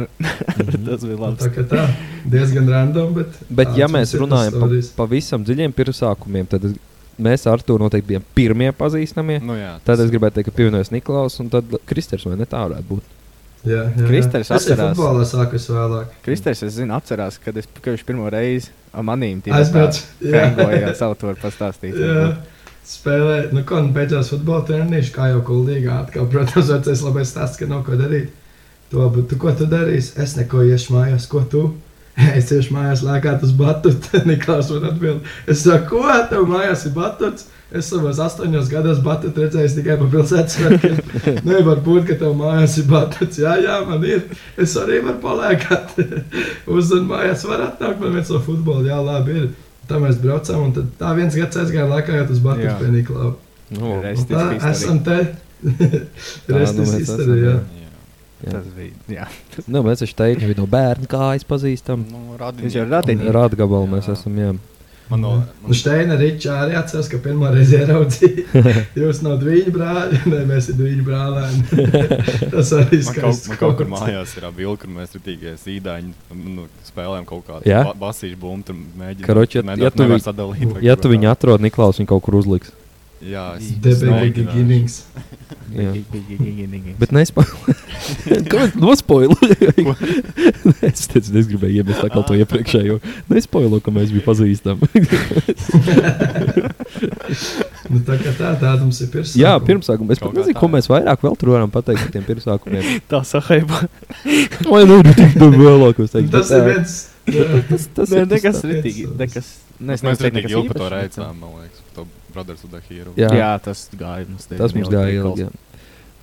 tas bija Nu, labi. Tā kā tā, diezgan random, bet. Bet, ja tāds mēs mums ir runājam par stories. pavisam dziļiem pirmsākumiem, tad es- mēs ar to noteikti bijām pirmie pazīstamie. Nu jā. Tad es gribēju teikt, ka pievienojas Niklaus un tad Kristers vai ne tā varētu būt. Jā, jā, jā. Kristers Es jau atcerās. futbolā sāku es vēlāk. Kristers, es zinu, atcerās, kad, es, kad viņš pirmo reizi ar manīm Aizbraucu. Jā. Kāpēc? Savu to var pastāstīt. Jā. Spēlē, nu, ko nu beigās futbola treniņš, kā jau kuldīgā. Atkal, protams, vecais labais stāsts, ka nav ko darīt. To, bet tu, ko tu darīsi? Es neko iešu mājās, ko tu? Es iešu mājās, lēkāt uz batutu. Tad Niklaus man atbild, es saku, ko tev mājās ir batuts? Es savos astoņos gados batutu redzēju tikai pa pilsētas svētkiem. Nevar būt, ka tev mājās ir batuts. Jā, jā, man ir. Es arī varu palēkāt. Uzzvanīt mājās, var atnākt man viens no futbola. Jā, labi. Ir. Tā mēs braucām, un tad tā viens gads aizgāja laikā, kad uz Batuta Jā. bija Niklaus. Nu, Reiz Tā tic bija esam te. nu mēs Restis esam, jā. izdarīja. Jā. jā. Tas bija. Jā. nu, mēs taču teiktu, ka no bērna kājas pazīstam. Nu, Viņš jau radinieki. radīja. Rādgabalu mēs Jā. esam, jā. Man no... Un Steina Ričā arī atceros, ka pirmā reize ieraudzīja, jūs nav divi brāļi, ne mēs esam divi brālēni. Tas arī Man kaut, skaists. man kaut kur kods. mājās ir abi vilki, kur mēs rītīgajā sīdaiņā nu, spēlējām kaut kādu Jā? ba basīšu bumbu. Tur mēģinām Karoči, ja- ja tu viņu- sadalīt. vai Ja kaut tu kā viņu tā. atrod, Niklaus viņu kaut kur uzliks. Jā, es Debīgi mēģināšu. Ginnings. Jā. Bet Bet nespoilēju. Kāpēc nospoilēju? es teicu, es gribēju iemest atkal to iepriekšējo. Nespoilēju, ka mēs bijām pazīstami. Nu, tā kā tā, tā mums ir pirmā. Jā, pirmsākumā. Es Kaut kā pat nezinu, tā, ko jā. mēs vairāk vēl tur varam pateikt par tiem pirmsākumiem. tā sahaiba. Vai nu ir tik daudz vēlāk, es teiktu. Nu, Tas bet, ir ā, viens. jā. Tas, tas Nē, ir tas nekas tā. ritīgi. Nekas. Mēs Nes, mēs nekas arī tik ilgi par to īpašs, bet, reicām, man liekas. par To Brothers of the Hero. Jā, Jā, tas gāja mums. tas mums gāja ilgi. jā.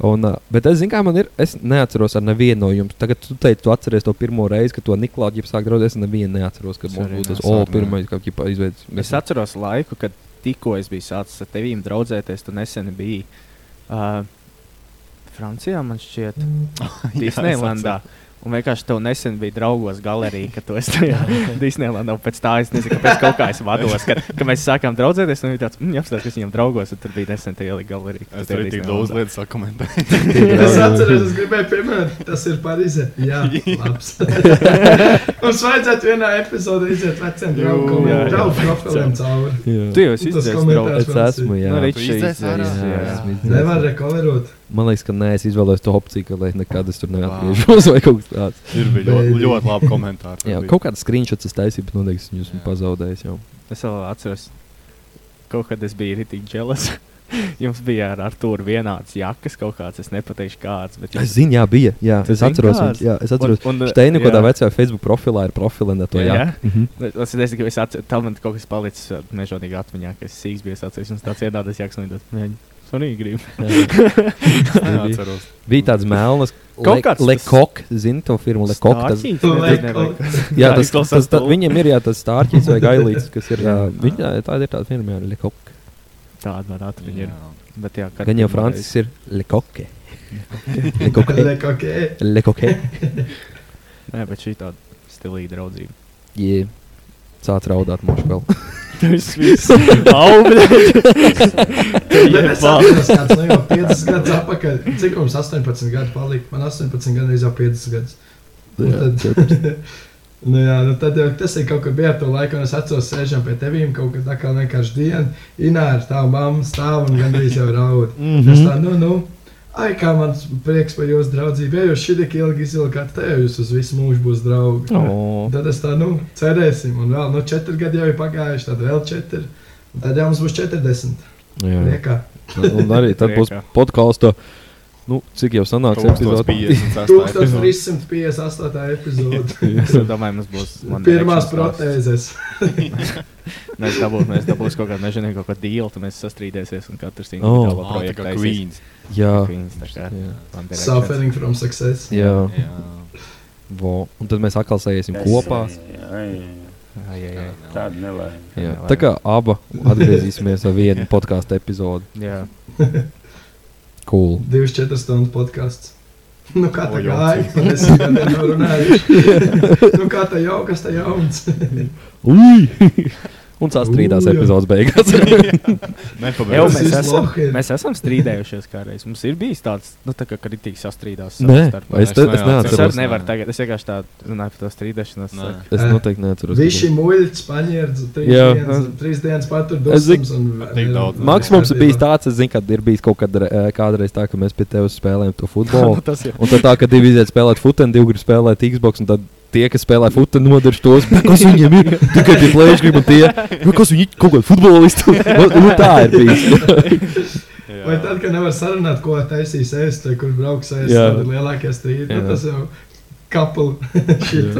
Un, ā, bet es zinu, kā man ir. Es neatceros ar nevienu no jums. Tagad tu teici, tu atceries to pirmo reizi, kad to Niklaudu jau sāk draudēt. Es nevienu neatceros, kad Es mums arī būtu tas neatceros, O, pirmais, kā ģipā izveidojis. Es atceros laiku, kad tikko es biju sācis ar tevīm draudzēties. Tu nesen biji uh, Francijā, man šķiet, Disneylandā. Un vienkārši tev nesen bija draugos galerijā, ka tu esi tajā Disneylandā. un Pēc tā es nezinu, kāpēc kaut kā es vados, ka, ka mēs sākām draudzēties. Un viņš tāds, mm, apstāties, kas viņam draugos, un tur bija nesen tie ielika galerijā. Es tur arī tik daudz lietu sakomentēju. Es atceros, es gribēju pieminēt, tas ir Parīzē. Jā, labs. Mums vajadzētu vienā epizodē iziet veciem draugiem, jā, jā. draugu profiliem cauri. Tu jau esi Tas izdzēries, draugs. komentārs Es Francijā. esmu, jā. Nu, Tu Ričs izdzēsi izdzēries, ārā? jā. Jā. esmu izdzēsis. Nevar rekoverot. Man liekas, ka nē, es izvēlos to opciju, ka lai nekad es tur neatgriežos vai kaut kas tāds. Ir bija ļoti, Baby. ļoti labi komentāri. Jā, kaut kāds screenshots es taisīju, bet noteikti esmu jūs Jā. pazaudējis jau. Es vēl atceros, kaut kad es biju rītīgi džēlis. Jums bija ar Arthuru vienāds jakas kaut kāds, es nepateikšu kāds. Bet Es zinu, jā, bija. Jā, Tu es zini atceros, kāds? viņu, jā, es atceros. Un, un, Steina kaut kādā jā. vecajā Facebook profilā ir profilēta to jā. Mhm. Es nezinu, ka es atceros, tam man kaut kas palicis ā, mežonīgi atmiņā, ka es sīgs biju, es atceros, un tāds iedādes jaks, un viņš Sonīgi grib. jā. Neatceros. Bija tāds melns, Kaut kāds tas- Lekok, zini to firmu Lekok. Tas, Stāķīts? Tu Nezinu, liek- nevajag. jā, Tā tas, tas, izklausās tas, tā, tu. viņam ir jā, tas stārķis vai gailīts, kas ir. Jā. jā, Viņa tāda ir tāda firma, jā, Lekok. Tāda man atmiņa ir. Jā. Bet jā, kad Gan jau pirmo Francis reizi- ir Lekoke. Lekoke. Liek, ok. Lekoke. Nē, bet šī tāda stilīga draudzība. Jā. Sāc raudāt mūžu vēl. Tas viss augļi. Bet es atceros, kāds no jau 50 gadus atpakaļ. Cik mums 18 gadu palika? Man 18 gadu jau 50 gadus. Un Tad, nu jā, nu tad jau tas ir kaut kur bija ar to laiku, un es atceros, sēžam pie tevīm kaut kad tā kā vienkārši diena. Inā ar tavu mammu stāv un gandrīz jau raud. Es tā, nu, nu. Ai, kā man prieks par jūsu draudzību. Ja jūs šī tik ilgi izvilkāt, te jau jūs uz visu mūžu būs draugi. Oh. Tad es tā, nu, cerēsim, un vēl, nu, četri gadi jau ir pagājuši, tad vēl četri. Un Tad jau mums būs 40. Jā. Liekā. Un arī tad būs Priekā. podkāsts. Nu, cik jau sanāks epizode? 1356. 1358. epizode. Es domāju, mums būs One Pirmās Direction stāsts. protēzes. Mēs dabūsim, mēs dabūsim kaut kādu mežonīgu, kaut kādu dīlu, tad mēs sastrīdēsimies un katrs Oh, Ah. individuālo Ah, Tā projektu kā taisīs. Queens. Jā. Queens, tā kā Jā. One Direction. Suffering from success. Jā. Jā. Vo. Un tad mēs atkal sēžam kopā. Ai, ai, ai. Tāda nelaime. Jā. Tā kā abi atgriezīsimies ar vienu podkāstu epizodi. Jā. Cool. 24 stundu podkāsts. Nu, kā tā O, gāja? jauci. Par desmit gadiem nav runājuši. nu, kā tā jau, kas tā jauns? Ui! Un sastrīdās Ui, jā. epizodes beigās. Jau, Nepabeigts. Tas mēs, ir esam, slohen. mēs esam strīdējušies kādreiz. Mums ir bijis tāds, nu, tā kā kritīgi sastrīdās. savā Nē, starpā. es, te, es es neatceros. arī nevaru Nē. tagad. Es vienkārši tā runāju par to strīdēšanos. Nē. saku. Es noteikti neatceros. Visi muļķi, spaņērts, trīs, Jā. dienas- trīs dienas patur Es zinu- dusmas. un- Tik daudz. Maks mums ir bijis tāds, es zinu, ka ir bijis kaut kad, eh, kādreiz tā, ka mēs pie tevis spēlējām to futbolu. "Nu, Tas ir. Un tad tā, ka divi iziet spēlēt futbolu, divi grib spēlēt Xbox, un tad tie, kas spēlē futbolu, nodarš tos, "Bet kas viņiem ir. Tikai tie plēši grib, un tie, "Bet kas viņi ir? kaut kādi futbolisti. Un- un Tā ir bijis. Vai tad, kad nevar sarunāt, ko taisīs es, vai kur brauks es, Jā. tad ir lielākie strīdi. Jā. Tad tas jau kapel šit.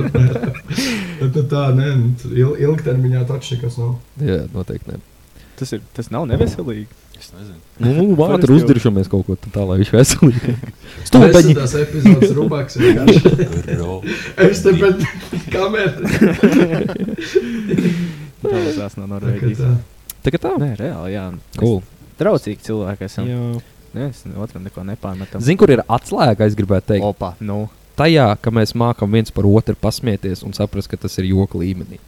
Tad nu tā, nē, nu, tur il- ilgtermiņā taču nekas nav. Jā, noteikti. Ne. Tas, ir, tas nav neveselīgi. Es nezinu. Nu, Parasti vātri jau. uzdiršamies kaut ko tā, lai viņš veselīgi. Stulbeņi. Tas ir epizodes rubaks. vienkārši. Es te pat kamerā. Tas no Norvēģijas. Tā kā tā. Nē, reāli, jā. Cool. Mēs Draudzīgi cilvēki esam. Nē, es otram neko nepārmetam. Zini, kur ir atslēga, es gribētu teikt? Opa, nu. tajā, ka mēs mākam viens par otru pasmieties un saprast, ka tas ir joka līmenī.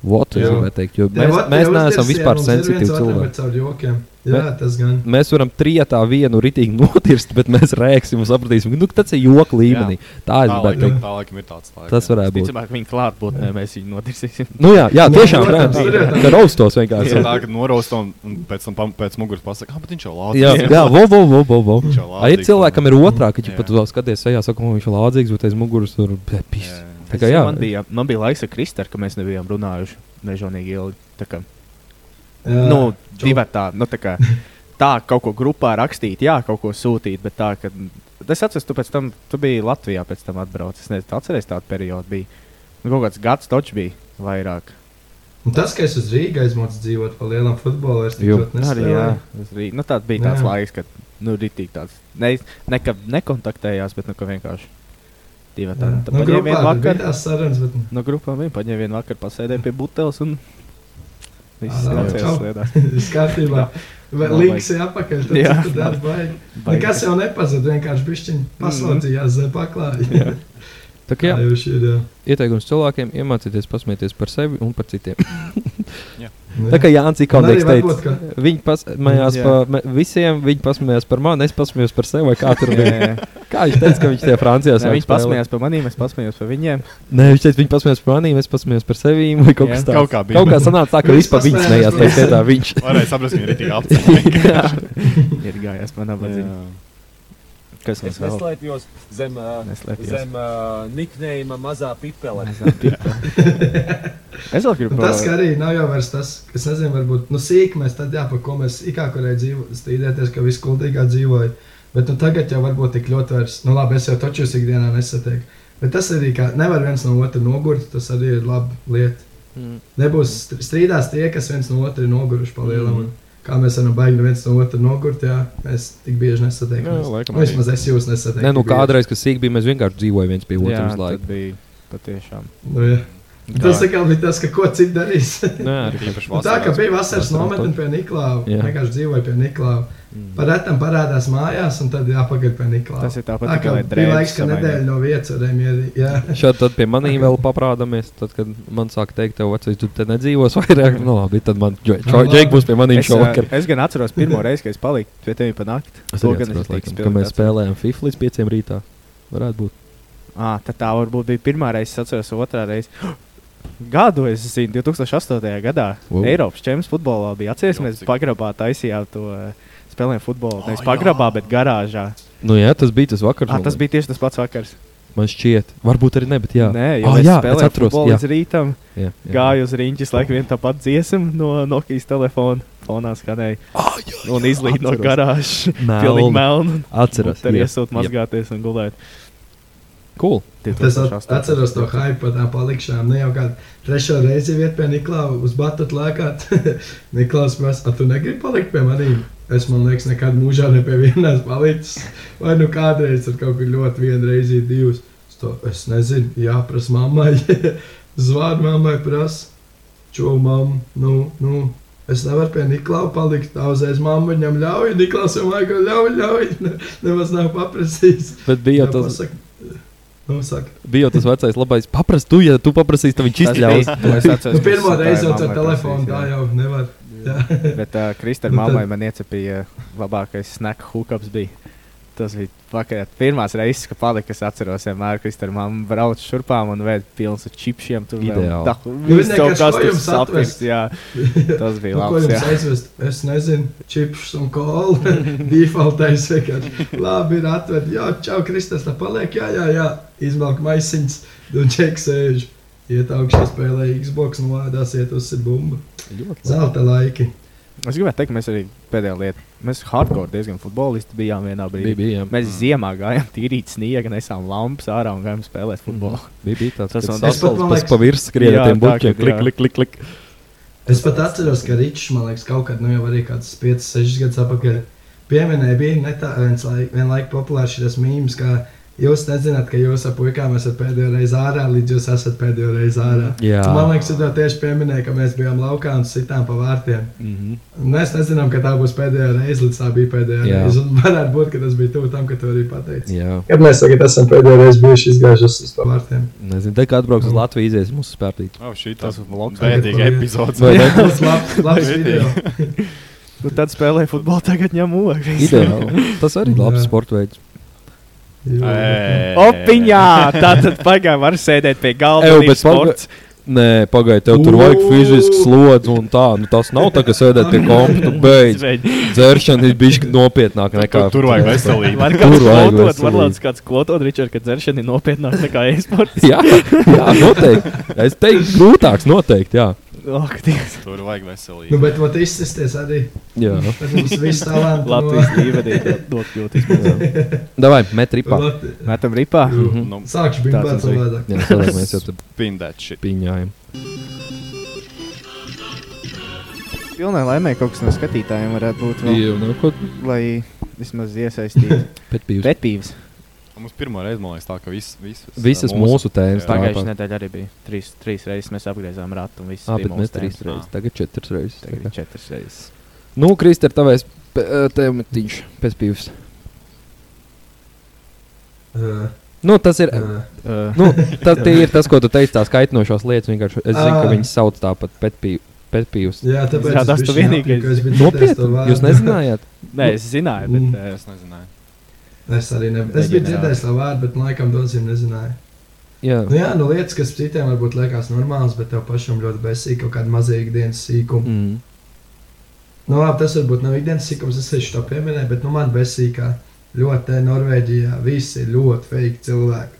What, es Jā. gribēju teikt, jo mēs, mēs neesam vispār sensitīvi cilvēki. cilvēki. Jā, tas gan. Mēs varam trijotā vienu ritīgi notirst, bet mēs rēksim un sapratīsim, ka nu, tas ir joka līmenī. Tā es Tālāk gribēju teikt. tālāk ir tāds laiks. Tas varētu būt. Ticamāk, viņa klātbūtnē mēs viņu notirsīsim. Nu, jā, jā, Jā, tiešām protams, rēksim. trijotā. Ka raustos Tas vienkārši. ir tā, ka noraustam un pēc tam pam- pēc muguras pasaka, ah, bet viņš jau lādzīgs. Jā, jā, vo, vo, vo, vo, vo. Viņš jau Ai, ir lādzīgs. cilvēkam ir otrā, ka viņš Jā. pat uz skaties, ejā, saka, ka viņš ir lādzīgs, bet aiz muguras tur pēpīs. Jā, jā. Tā kā jā, man bija, man bija laiks ar Kristēru, ka mēs nebijām runājuši mežonīgi ilgi. Tā kā Jā. nu, čau. divi tādi, nu, tā kā tā, kaut ko grupā rakstīt, jā, kaut ko sūtīt, bet tā, ka. Es atceros, tu pēc tam, tu biji Latvijā, pēc tam atbraucis. Es nezinu, atceries tādu periodu bija. Nu, kaut kāds gads točs bija vairāk. Un tas, ka es uz Rīgā aizmūcu dzīvot par lielām futboliem, tas ļoti arī jā, nesaprotami. uz Rīgas. Nu, tāds bija tāds jā. Jā. laiks, kad nu, Rīgas tāds ne, neka, nekontaktējās, bet nu, ka vienkārši divi tādi. Tad Nu, paņēma grupā vienu tur bija vakaru. tās sarunas, bet No grupām viņa paņēma vienu vakaru, pasēdēja pie buteles un viss Ā, labi, nācās čau. sēdēt. viss kārtībā. Vai Nav Līgas ir apakaļ, tad Jā. cik tu tāds baigi. Nekas jau nepazuda, vienkārši Mhm. bišķiņi paslaucījās zem paklāja. Tā kā jā, jau šī ir. jā. ieteikums cilvēkiem iemācīties pasmieties par sevi un par citiem. Nu, Tā kā Jānis Kalniņš Un arī teica, varbūt, ka... ka- viņi pasmējās Jā. par me- visiem, viņi pasmējās par mani, es pasmējos par sevi. vai Kā, tur Jā, bija? jā. kā viņš teica, ka viņš tajā Francijā Nē, Viņi spēlē? pasmējās par maniem, es pasmējos par viņiem. Nē, viņš teica, viņi pasmējās par mani, es pasmējos par sevi. Vai kaut Jā. kas Kaut tāds. kā bija. Kaut kā sanāca tā, ka Mēs vispār viņš pasmējāmies nejās par tajā vietā. Viņš. Varēja saprast, ka viņi ir tik apziņā. Ir gājās manā vadzībā. Jā. Kas mums Es vēl? neslēpjos zem, ā, Neslēpjas. zem uh, niknējuma mazā pipele. Es vēl gribu Nu, tas ka arī nav jau vairs tas, kas, nezinu, varbūt, nu, sīkmēs, tad jā, par ko mēs ikā kurē dzīvojam, ka viss kuldīgā dzīvoja. Bet nu, tagad jau varbūt tik ļoti vairs, nu, labi, es jau taču jūs ikdienā nesatieku. Bet tas arī, ka nevar viens no otra nogurt, tas arī ir laba lieta. Mm. Nebūs str- strīdās tie, kas viens no otra ir noguruši pa lielam. Mm. Kā mēs varam baigti viens no otra nogurt, jā, mēs tik bieži nesatiekamies. Jā, laikam Nu, Vismaz es jūs nesatieku. Nē, nu tik bieži. kādreiz, kas sīk bija, mēs vienkārši dzīvojām viens pie Jā, otras tad laika. bija patiešām. Nu, jā. Tas atkal bija tas, ka ko citu darīs. Nē, arī. Īpaši Nu, tā kā vasarā. bija vasaras Vasarā nometne pie Niklausa, Jā. vienkārši dzīvoja pie Niklausa. Parētam parādās mājās, un tad jāpagaida pie Tas Niklausa. ir tāpat Tā kā tikai bija laiks, drēbes. ka nedēļa no vietas varēja mierīgi. jā. Šādi tad pie maniem vēl paprādāmies. Tad, kad man sāk teikt, tev vecais, tu te nedzīvos vairāk, nu labi, tad man Džek būs pie Nu, maniem Es, ā, šovakar. es gan atceros pirmo reizi, kad es paliku pie tevis pa nakti. Es To arī gan atceros, tik laikam, ka spilgti mēs atceros. spēlējām FIFA līdz 5 rītā. Varētu būt. Ah, tad tā varbūt bija pirmā reize, kas atceros otrā reize. Gadu es zinu, 2008. gadā Wow. wow. Eiropas čempions futbolā bija. Atcerieties, Jā, mēs cik- pagrabā taisījām to eh, spēlējām futbolu. Nevis pagrabā, bet garāžā. Nu, jā, tas bija tas vakars. Ah, tas bija tieši tas pats vakars. man šķiet. Varbūt arī ne, bet jā. Nē, jau Ah, mēs jā, es spēlējām atceros. futbolu Jā, līdz rītam. jā, jā. Gāju uz rīņķis, laikam, vien tāpat dziesmu no Nokijas telefona. Fonā skanēja. Un izlīd no atceros. garāžas. Melna. Pilnīgi melnu. Atceros. Tur jā, iesūt jā. mazgāties un gulēt. Cool. Tas at- atceros to hype par tām palikšanām. Ne jau kādu trešo reizi vietā pie Niklausa uz Batata lēkāt. Niklaus prasa, "A, tu negribi palikt pie maniem? Es man liekas, nekad mūžā ne pie vienas palicis. Vai nu kādreiz tur kaut kur ļoti vienreiz divas. Es To, es nezinu, jāprasa mammai. Zvanu mammai, prasa. Čo mamma, nu, nu. Es nevaru pie Niklausa palikt. Tā uzreiz mamma viņam ļauj. Niklaus jau laikam ļauj, ļauj. Ne, nemaz nav paprasījis. Bet bija jau tas, Jāpasaka. Nu, saka. bija jau tas vecais labais. Paprast, tu, ja tu paprasīsi, tad viņš izļaus. Nu, pirmā reize jau ar telefonu tā jau nevar. Bet uh, Kristāla Nu, tad- mammai man iecepīja labākais snack hookups. Bija. Tas bija vakarā. Pirmās reizes, kad palika, es atceros, vienmēr Kristāla mamma brauc šurpām un vēd pilns ar čipšiem. Tur vēl Ideāli. tā- Nu, viss zini, kaut kas kas to tur jums sapnis. atvest? Jā, tas bija Nu, ko labs. jums jā. aizvest? Es nezinu, čips un kola. Defaultais vienkārši. Labi, ir atvērt. Jā, čau, Kristas, tā paliek. Jā, jā, jā. Izmelk maisiņš, un čeks sēž. Iet augšā spēlē Xbox, novādās, iet uz bumbu. Zelta laiki. Es gribēju teikt, mēs arī pēdējā lietā, mēs hardcore diezgan futbolisti bijām vienā brīdī. Bija, Mm. bija, jā. Mēs ziemā gājām, tīrīt sniega, nesām lampas ārā un gājām Mm. spēlēt futbolu. bija, bija tāds, Tas kas man- Es pat, man sasals liekas- pa virs skrien Jā, ar tā, tiem buķiem. kad, Klik, jā. klik, klik, klik. Es pat atceros, ka Ričs man liekas, kaut kad, nu jau arī kāds 5, 6 gadus atpakaļ, pieminēja, bija ne tā, viens laik, vienlaik populārs šis mīmīms, ka jūs nezināt, ka jūs ar puikām esat pēdējo reizi ārā, līdz jūs esat pēdējo reizi ārā. Jā. Un Man liekas, tu to tieši pieminēji, ka mēs bijām laukā un sitām pa vārtiem. Mhm. Un Mēs nezinām, ka tā būs pēdējā reize, līdz tā bija pēdējā Jā. Jā. reize. Un varētu būt, ka tas bija tuvu tam, ka tu arī pateici. Jā, Kad mēs tagad esam pēdējo reizi bijuši izgājušies uz pa vārtiem. nezinu, te kā atbrauks uz Latviju, izies mūsu spērtīt. Oh, šī tas Tas bija vlogs. bēdīga epizodes. Vai ne? Tas labs, labs video. Nu, tad spēlēju futbolu, tagad ņem ūdeni. Ideāli. Tas arī ir labs Jā. sports veids. Ē. Opiņā! Tā tad pagaidām var sēdēt pie galda. Eju, Eju, bet bet sports. Nē, pagaidi, tev tur vajag fizisks slodzi un tā. Nu, tas nav tā, ka sēdēt pie kompta beidz. Dzēršana ir bijusi nopietnāka nekā. Tur vajag veselību. Man Tur kāds vajag klotot, veselību. varbūt kāds klotot, Ričard, ka dzeršana ir nopietnāk nekā e-sports. Jā, jā, noteikti. Es teiktu, grūtāks noteikti. Jā, Ak, Dievs. Tur vajag Nu, veselību. bet vat izsisties arī. jā. Tas mums viss talanti no- Latvijas līmenī dot ļoti izpildīt. Davai, met ripā. Lat- Metam ripā. Nu, Nu, Sākšu Mhm. Tāds bimbāt arī. savādāk. Jā, savādāk mēs jau tur Spin that shit. piņājam. Pilnai laimē kaut kas no skatītājiem varētu būt. Vēl, Jā, nu, ko- lai vismaz iesaistītu Pētpīvs. pretpīvas. Mums pirmā reize, man liekas, tā, ka visas, visas, Visas mūsu Jā. tēmas. tāpat. Pagājušajā nedēļā arī bija trīs, trīs reizes. Mēs apgriezām ratu un viss Ah, bija bet mūsu mēs trīs tēmas. reizes. Tagad četras reizes. Tagad tā kā. ir četras reizes. Nu, Kristi, ar tavais tēmatiņš pētpīvs. Uh, Nu, tas ir. uh, Uh, Nu, tas tie ir tas, ko tu teici, tās kaitinošās lietas. Vienkārši es zinu, ka viņas sauc tāpat pētpīvs. jā, tāpēc Izrādās, es tu bišķiņ vienīgais. apjuku, es biju dzirdējis to Nopietni, vārdu. jūs nezinājāt? nē, es zināju, bet. Mm. Uh, Es nezināju. Es arī ne, es biju dzirdējis to vārdu, bet laikam dosim nezināju. Jā. Nu, jā, nu lietas, kas citiem varbūt liekas normāls, bet tev pašam ļoti besīk kaut kāda maza ikdienas sīkuma. Mm. Nu, labi, tas varbūt nav ikdienas sīkums, es tieši to pieminēju, bet nu, man besīkā ļoti te Norvēģijā visi ir ļoti fake cilvēki.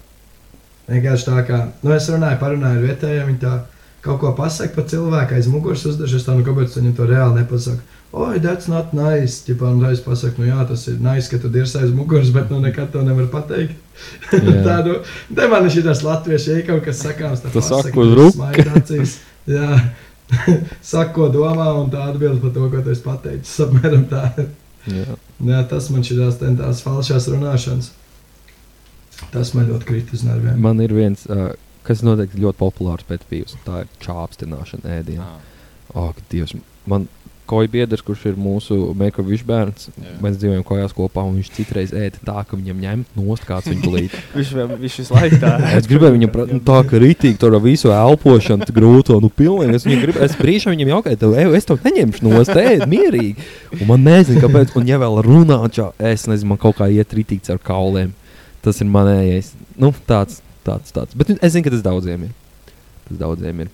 Vienkārši tā kā, nu, es runāju, parunāju ar vietējiem, viņi tā kaut ko pasaka par cilvēku aiz muguras uzdažas, tā nu, kāpēc viņam to reāli nepasaka. Oi, that's not nice. Tipā, nu, es pasaku, nu, jā, tas ir nice, ka tu dirsi aiz muguras, bet, nu, nekad to nevar pateikt. Jā. tā, nu, te man ir šīs latviešu, ja ir kaut kas sakāms, tad Tu saki uz ruku. Jā, saka, ko domā, un tā atbild par to, ko tu esi pateicis. Apmēram tā. Jā. Jā, tas man šķiet, tās falšās runāšanas. Tas man ļoti krīt uz nerviem. Man ir viens, uh, kas noteikti ļoti populārs pētpīvs. Tā ir čāpstināšana ēdienā. Ah, Ak, Dievs, man koja biedrs, kurš ir mūsu meklējuma bērns, Jā. mēs dzīvojam kājās kopā, un viņš citreiz ēda tā, ka viņam ņemt nost kāds viņa plīt. Viņš vēl- viņš visu laiku tā Es gribēju viņam pra- nu, tā, ka rītīgi tur ar visu elpošanu tā grūto, nu, pilnīgi. Es, viņam grib, es brīžā viņam jautāju, tev, ej, es to neņemšu no stēdes, mierīgi. Un man nezinu, kāpēc, un ja vēl runā, čā, es nezinu, man kaut kā iet rītīgs ar kauliem. Tas ir manējais. Nu, tāds, tāds, tāds. Bet es zinu, ka tas daudziem ir. Tas daudziem ir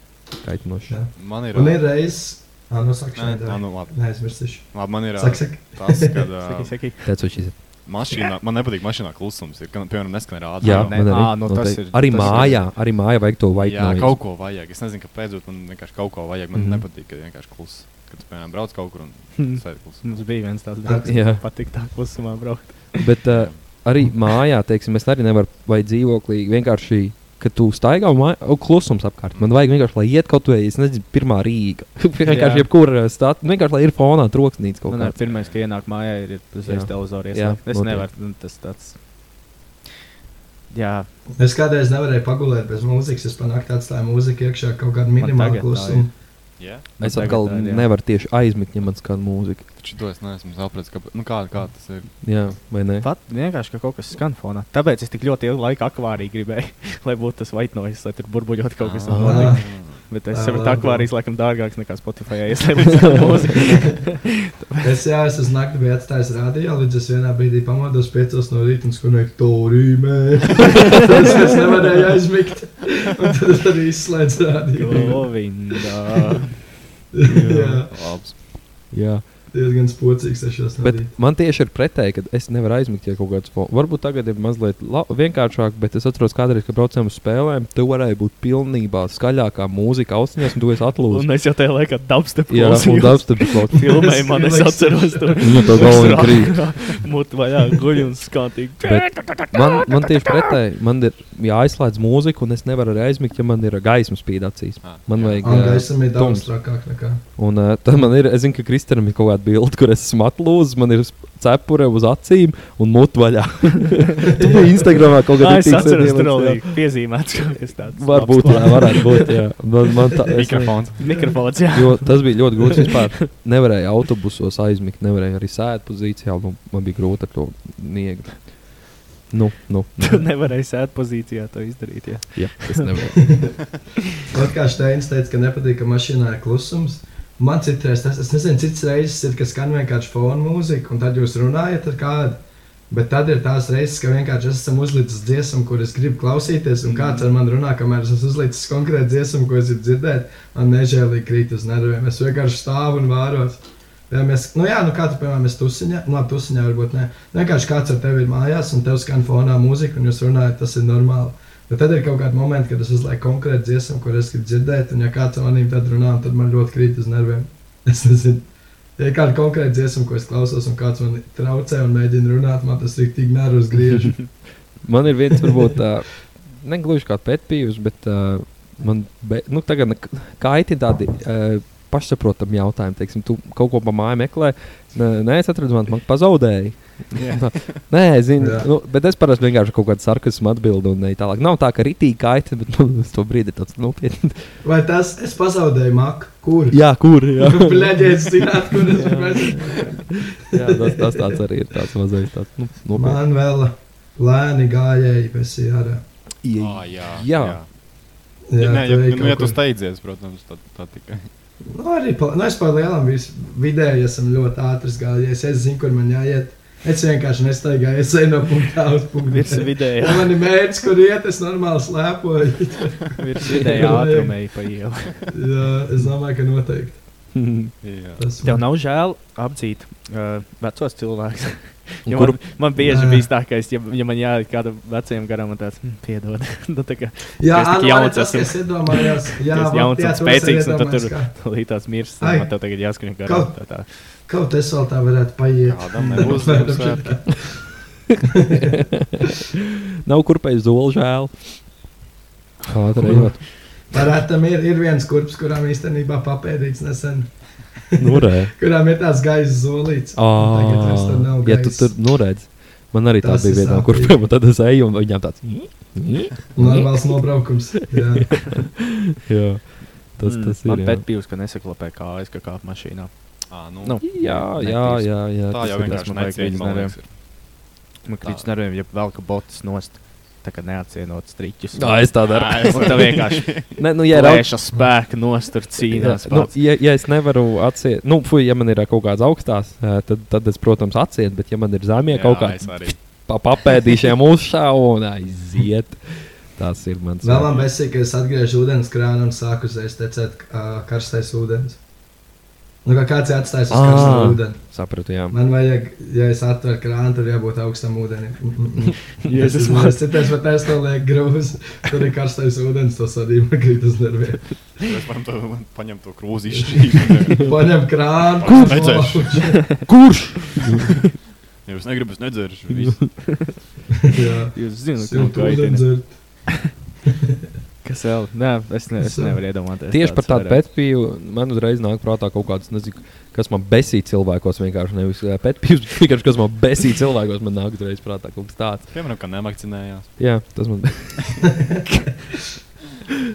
kaitinoši. Jā. Man ir. Un ir reizes, ah, nu, saka, Nē, nē, šeit, nu, labi. neaizmirsīšu. labi. Man ir ā, Saka, saka. tas, kad ā, Saki, saki. Tēcošīs. mašīnā, man nepatīk mašīnā klusums. Ir, kad, piemēram, neskan rādīt. Jā, nē, man arī, ā, nu tas noteikti. ir- arī tas ir- mājā, arī mājā vajag to vajag. Jā, kaut ko vajag. Es nezinu, kāpēc, bet man vienkārši kaut ko vajag. Man mm Mhm. -hmm. nepatīk, ka vienkārši klusi. Kad, piemēram, brauc kaut kur un Mhm. sēž klusi. Mums bija viens tāds Tā- darbs. Jā. Patīk tā klusumā braukt. Bet uh, arī mājā, teiksim, es arī nevaru, vai dzīvoklī, vienkārši, kad tu staigā un māj- un klusums apkārt. Man vajag vienkārši, lai iet kaut vai, es nezinu, pirmā Rīga. vienkārši Jā. jebkurā stāstā, vienkārši, lai ir fonā troksnīts kaut Man ar kāds. Nu, pirmais, ka ienāk mājā, ir uzreiz Jā. televizors. Jā, Es noteikti. nevaru, nu, tas tāds. Jā, Es kādreiz nevarēju pagulēt bez mūzikas. Es panāku atstāju mūziku iekšā kaut kādu Man tagad tā minimālu ir. klusumu. Jā, Es nu, tagad atkal tā ir, jā. nevaru tieši aizmigt, ja man skan mūzika. taču to es neesmu sapratis. Kā, nu, kā, kā tas ir? Jā, vai ne? pat vienkārši ka kaut kas skan fonā. Tāpēc es tik ļoti ilgu laiku akvārijā gribēju, lai būtu tas white noise, lai tur burbuļot kaut kas Ah. tāds. Ah, Bet es Ah, saprotu, labi. ka akvārijas laikam dārgāks nekā Spotify. Es domāju, Es jā, es uz naktī biju atstājis rādio, līdz es vienā brīdī pamodos piecos no rīta un skanēju to rīmē. es, es nevarēju aizmigt. Un tad es arī izslēdzu rādio. Govinda. jā, Labs. Jā. diezgan spocīgs tas šos Bet naktī. man tieši ir pretēji, ka es nevaru aizmigt, ja kaut kāds fons. Varbūt tagad ir mazliet la- vienkāršāk, bet es atceros, kādreiz, kad braucām uz spēlēm, tu varēji būt pilnībā skaļākā mūzika ausīs, un tu esi atlūzis. Un es jau tajā laikā dabstu Jā, un plūstu. dabas tur bija. Filmēju, man es atceros to. Viņa Nu, to galvenā krīt. Mūtu vaļā guļ un skantīgi. Bet man, man tieši pretēji, man ir jāizslēdz mūzika, un es nevaru arī aizmigt, ja man ir gaismas spīd acīs. Ah, Man jā. vajag, Angā ā, esam ir daudz tums. trakāk nekā. un ā, tad man ir, es zinu, ka Kristēnam ir kaut kāda bilde, kur es esmu atlūzis, man ir sp- cepure uz acīm un mutu vaļā. Tu biji Instagramā kaut Kā kādā Ah, es atceros, tur vēl veidā. bija piezīmēts kaut kas tāds. Varbūt, jā, varētu būt, jā. Man, man tā, es ne- Mikrofons. Mikrofons, jā. Jo tas bija ļoti grūti. Vispār nevarēju autobusos aizmigt, nevarēju arī sēdēt pozīcijā. Nu, man bija grūti ar to niegli. Nu, nu, Tu nu. nevarēji sēdēt pozīcijā to izdarīt. Jā. Jā, es nevaru. Pat kā Steins teica, ka nepatīk, ka mašīnā ir klusums. Man citreiz tas, es nezinu, cits reizes ir, ka skan vienkārši fona mūzika, un tad jūs runājat ar kādu. Bet tad ir tās reizes, ka vienkārši es esmu uzlicis dziesmu, kuras gribu klausīties, un kāds ar mani runā, kamēr es esmu uzlicis konkrēti dziesmu, ko es gribu dzirdēt, man nežēlīgi krīt uz nerviem. Es vienkārši stāvu un vāros. Ja mēs, nu jā, nu kā tu, piemēram, es tusiņā, no nu, tusiņā varbūt ne. Vienkārši kāds ar tevi ir mājās, un tev skan fonā mūzika, un jūs runājat, tas ir normāli. Bet tad ir kaut kāda momenta, kad es uzlieku konkrēti dziesmu, kur es gribu dzirdēt, un ja kāds ar manīm tad runā, tad man ļoti krīt uz nerviem. Es nezinu, ja ir kāda konkrēta dziesma, ko es klausos, un kāds man traucē un mēģina runāt, man tas ir tik nervus griež. Man ir viens, varbūt, uh, negluži kā pētījums, bet uh, man be, nu, tagad nek- kaiti tādi uh, pašsaprotami jautājumi. Teiksim, tu kaut ko pa māju meklē, nē, nē, es atradu, man, man pazaudēji. Yeah. nē, zinu, Jā. nu, bet es parasti vienkārši kaut kādu sarkasmu atbildu un ne tālāk. Nav tā, ka ritīgi kaita, bet nu, uz to brīdi ir tāds nopietni. Vai tas es pazaudēju maku? Kur? jā, kur? Jā, Bļaģēs, zināt, kur es esmu. jā tas, tas tāds arī ir tāds mazais. Tāds, nu, nopietni. Man vēl lēni gājēji bez jārā. Ah, jā, Jā. jā. Jā, nē, ja, tu nu, ej ja kaut tu kur. steidzies, protams, tad tā tikai. Nu, arī pa- nu, es palielam vidēji esmu ļoti ātrs gājējis. Es zinu, kur man jāiet. Es vienkārši nestaigāju, es eju no punktā uz punktu. Virs vidējā, Ja man ir mērķis, kur iet, es normāli slēpoju. virs vidējā ātrumā pa ielu. Jā, es domāju, ka noteikti. Jā. Tas Tev nav žēl apdzīt uh, vecos cilvēkus. Un Jo Kuru, man, man bieži Nē. bija tā, ka, es, ja, ja man jāiet kādam vecajam garam, un tāds - piedod. nu, tā kā Jā, Mēs tik Anna, jauns tas, esam. kas iedomājās. Jā, Tas jauns vat, jā, un tu esi spēcīgs, un tad iedomājies, tur- kā- līdz mirs, Ai. man tev tagad jāskrien garām. Tā, tā. Kaut es vēl tā varētu paiet. Kādam nebūs Apmēram svētā. nav kur pēc zola žēl. Ātri Kur? ejot. Parētam ir, ir viens kurps, kurām īstenībā papēdīts nesen, Nu, re. kurām ir tās gaisa zolīts. Oh. Tagad vairs tur nav Ah, Ja tu gaisa. tur noredz, man arī tā Tas bija ir viena no sāpīgi. kurpēm, un tad es eju un viņām tāds. Normāls nobraukums. Jā. Jā, tas, tas Mm. man ir. jā. pēc pīles, ka nesaklapē kājas, ka kāp mašīnā. Ā, nu, Nu, Jā, jā, jā, tā jā. tas jau ir vienkārši man vajag necieņa, man līdz liekas. ir. Man krīt uz nerviem, ja velka botas nost. Tā kā neatsienot striķus. Tā es tā daru. es tā vienkārši Nē, nu, ja ir augsts. plēšu spēku nostur cīnās. Nu, pats. ja, ja es nevaru atsiet, nu, fui, ja man ir ā, kaut kādas augstās, ā, tad, tad es, protams, atsietu, bet, ja man ir zemie kaut Jā, es kādi arī. pa papēdīšiem uzšāvu un aiziet, tas ir mans. Vēl man besīk, ka es atgriežu ūdens krānu un sāku uzreiz tecēt uh, karstais ūdens. Nu, kā kāds ir atstājis uz Ā. karstu ūdeni. Sapratu, jā. Man vajag, ja es atveru krānu, tad jābūt augstam ūdenim. Jēzus, man ir citas, bet es to lieku grūzi. Tur ir karstais ūdens, tas arī man krīt uz nerviem. Es varam to man paņem to krūzi izšķīt. Paņem krānu. Kurš? nolauž. Kurš? Ja es negribu, es nedzeršu. viss. Jā. Jūs zināt, ka Siltu tā ir ideja. ūdeni dzert. Kas vēl? Nē, es, ne, es Siltu. nevaru iedomāties. Tieši par tādu varētu. pētpīju man uzreiz nāk prātā kaut kāds, nezinu, kas man besīja cilvēkos. Vienkārši nevis ā, pētpījus, bet vienkārši kas man besīja cilvēkos, man nāk uzreiz prātā kaut kas tāds. Piemēram, ka nemakcinējās. Jā, tas man.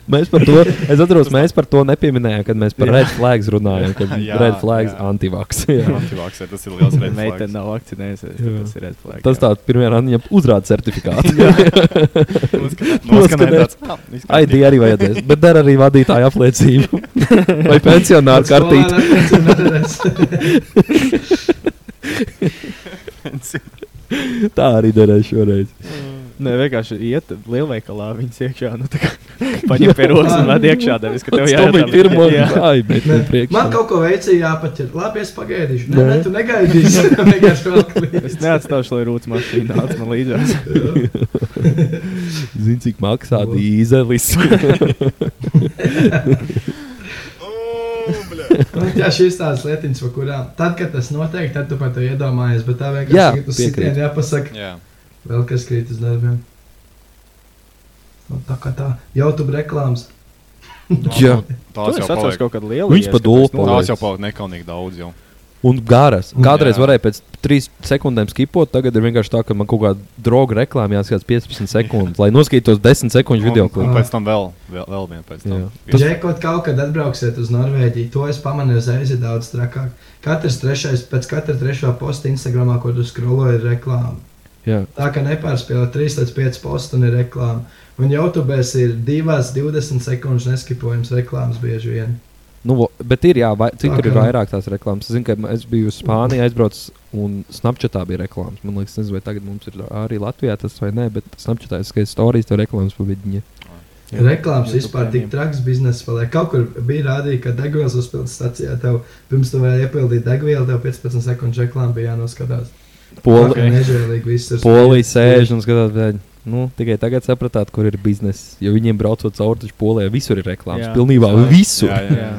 Mēs par to, es atceros, mēs par to nepieminējām, kad mēs par Jā. red flags runājām. Kad Jā, red flags jā. antivaks. jā. Antivakcē, tas ir liels Ja Meitene reizes. nav vakcinējusies. Jā. tad Tas ir redflags. Tas tāds pirmā randiņa uzrāda certifikātu. Noskanē tāds. "Ah, izskatīgi." ID arī vajadzēs, bet der arī vadītāja apliecību. Vai pensionāra kartīte. Tā arī derēs šoreiz. Nē, vienkārši iet lielveikalā viņas iekšā. Nu, tā kā paņem pie rokas un ved iekšā. Devis, ka tev Tas jāiet bija ar- pirmo Jā. gāju, bet ne priekšā. Man kaut ko veicīja jāpaķer. Labi, es pagaidīšu. Nē, Nē. nē, tu negaidīsi. Vienkārši vēl klīst. Es neatstāšu, lai rūtas mašīna nāc man līdzās. Zini, cik maksā dīzelis. Bet, Nu, Jā, šīs tādas lietiņas, par kurām tad, kad tas notiek, tad tu par to iedomājies. Bet tā Jā, vienkārši ir tas, piekrītu. kas jāpasaka. Jā. Vēl kas krīt uz nerviem. Nu, tā kā tā, jau tur reklāmas. Jā. Tās es jau atceros paliek. kaut kādu lielu. Viņas pa dulpu. Tās jau paliek nekaunīgi daudz jau. Un garas. Kādreiz Jā. varēja pēc trīs sekundēm skipot, tagad ir vienkārši tā, ka man kaut kāda droga reklāmā jāskatās 15 sekundes, lai noskatītos 10 sekundžu video Un, un klipu. pēc tam vēl, vēl, vēl viena pēc tam. Jā. Pie- Džekot, kaut kad atbrauksiet uz Norvēģiju, to es pamanīju uzreiz ir daudz trakāk. Katrs trešais, pēc katra trešā posta Instagramā, ko tu skroloji, ir reklāma. Jā. Tā kā nepārspēlē 3 līdz 5 postu un ir reklāma. Un YouTube ir 2,20 sekundes neskipojums reklāmas bieži vien. Nu, vo- bet ir, jā, vai, cik Tā tur ir kā- vairāk tās reklāmas. Es zinu, ka es biju uz Spāniju, aizbraucu un Snapchatā bija reklāmas. Man liekas, nezinu, vai tagad mums ir arī Latvijā tas vai nē, bet Snapchatā es skatos stāstījis to reklāmas pa vidiņu. Jā, Reklāmas YouTube vispār tik Premium. traks biznesa paliek. Kaut kur bija rādīts, ka degvielas uzpildes stācijā tev pirms tam vēl iepildīt degvielu, tev 15 sekundes reklāmas bija jānoskatās. Poli, okay. nežēlīgi viss ir. Polija sēž un skatās, bet nu, tikai tagad sapratāt, kur ir biznesa. Jo viņiem braucot cauri taču Polijai, visur ir reklāmas. Jā. Jā. Pilnībā jā. Jā. visur. Jā, Jā, jā, jā. Jā.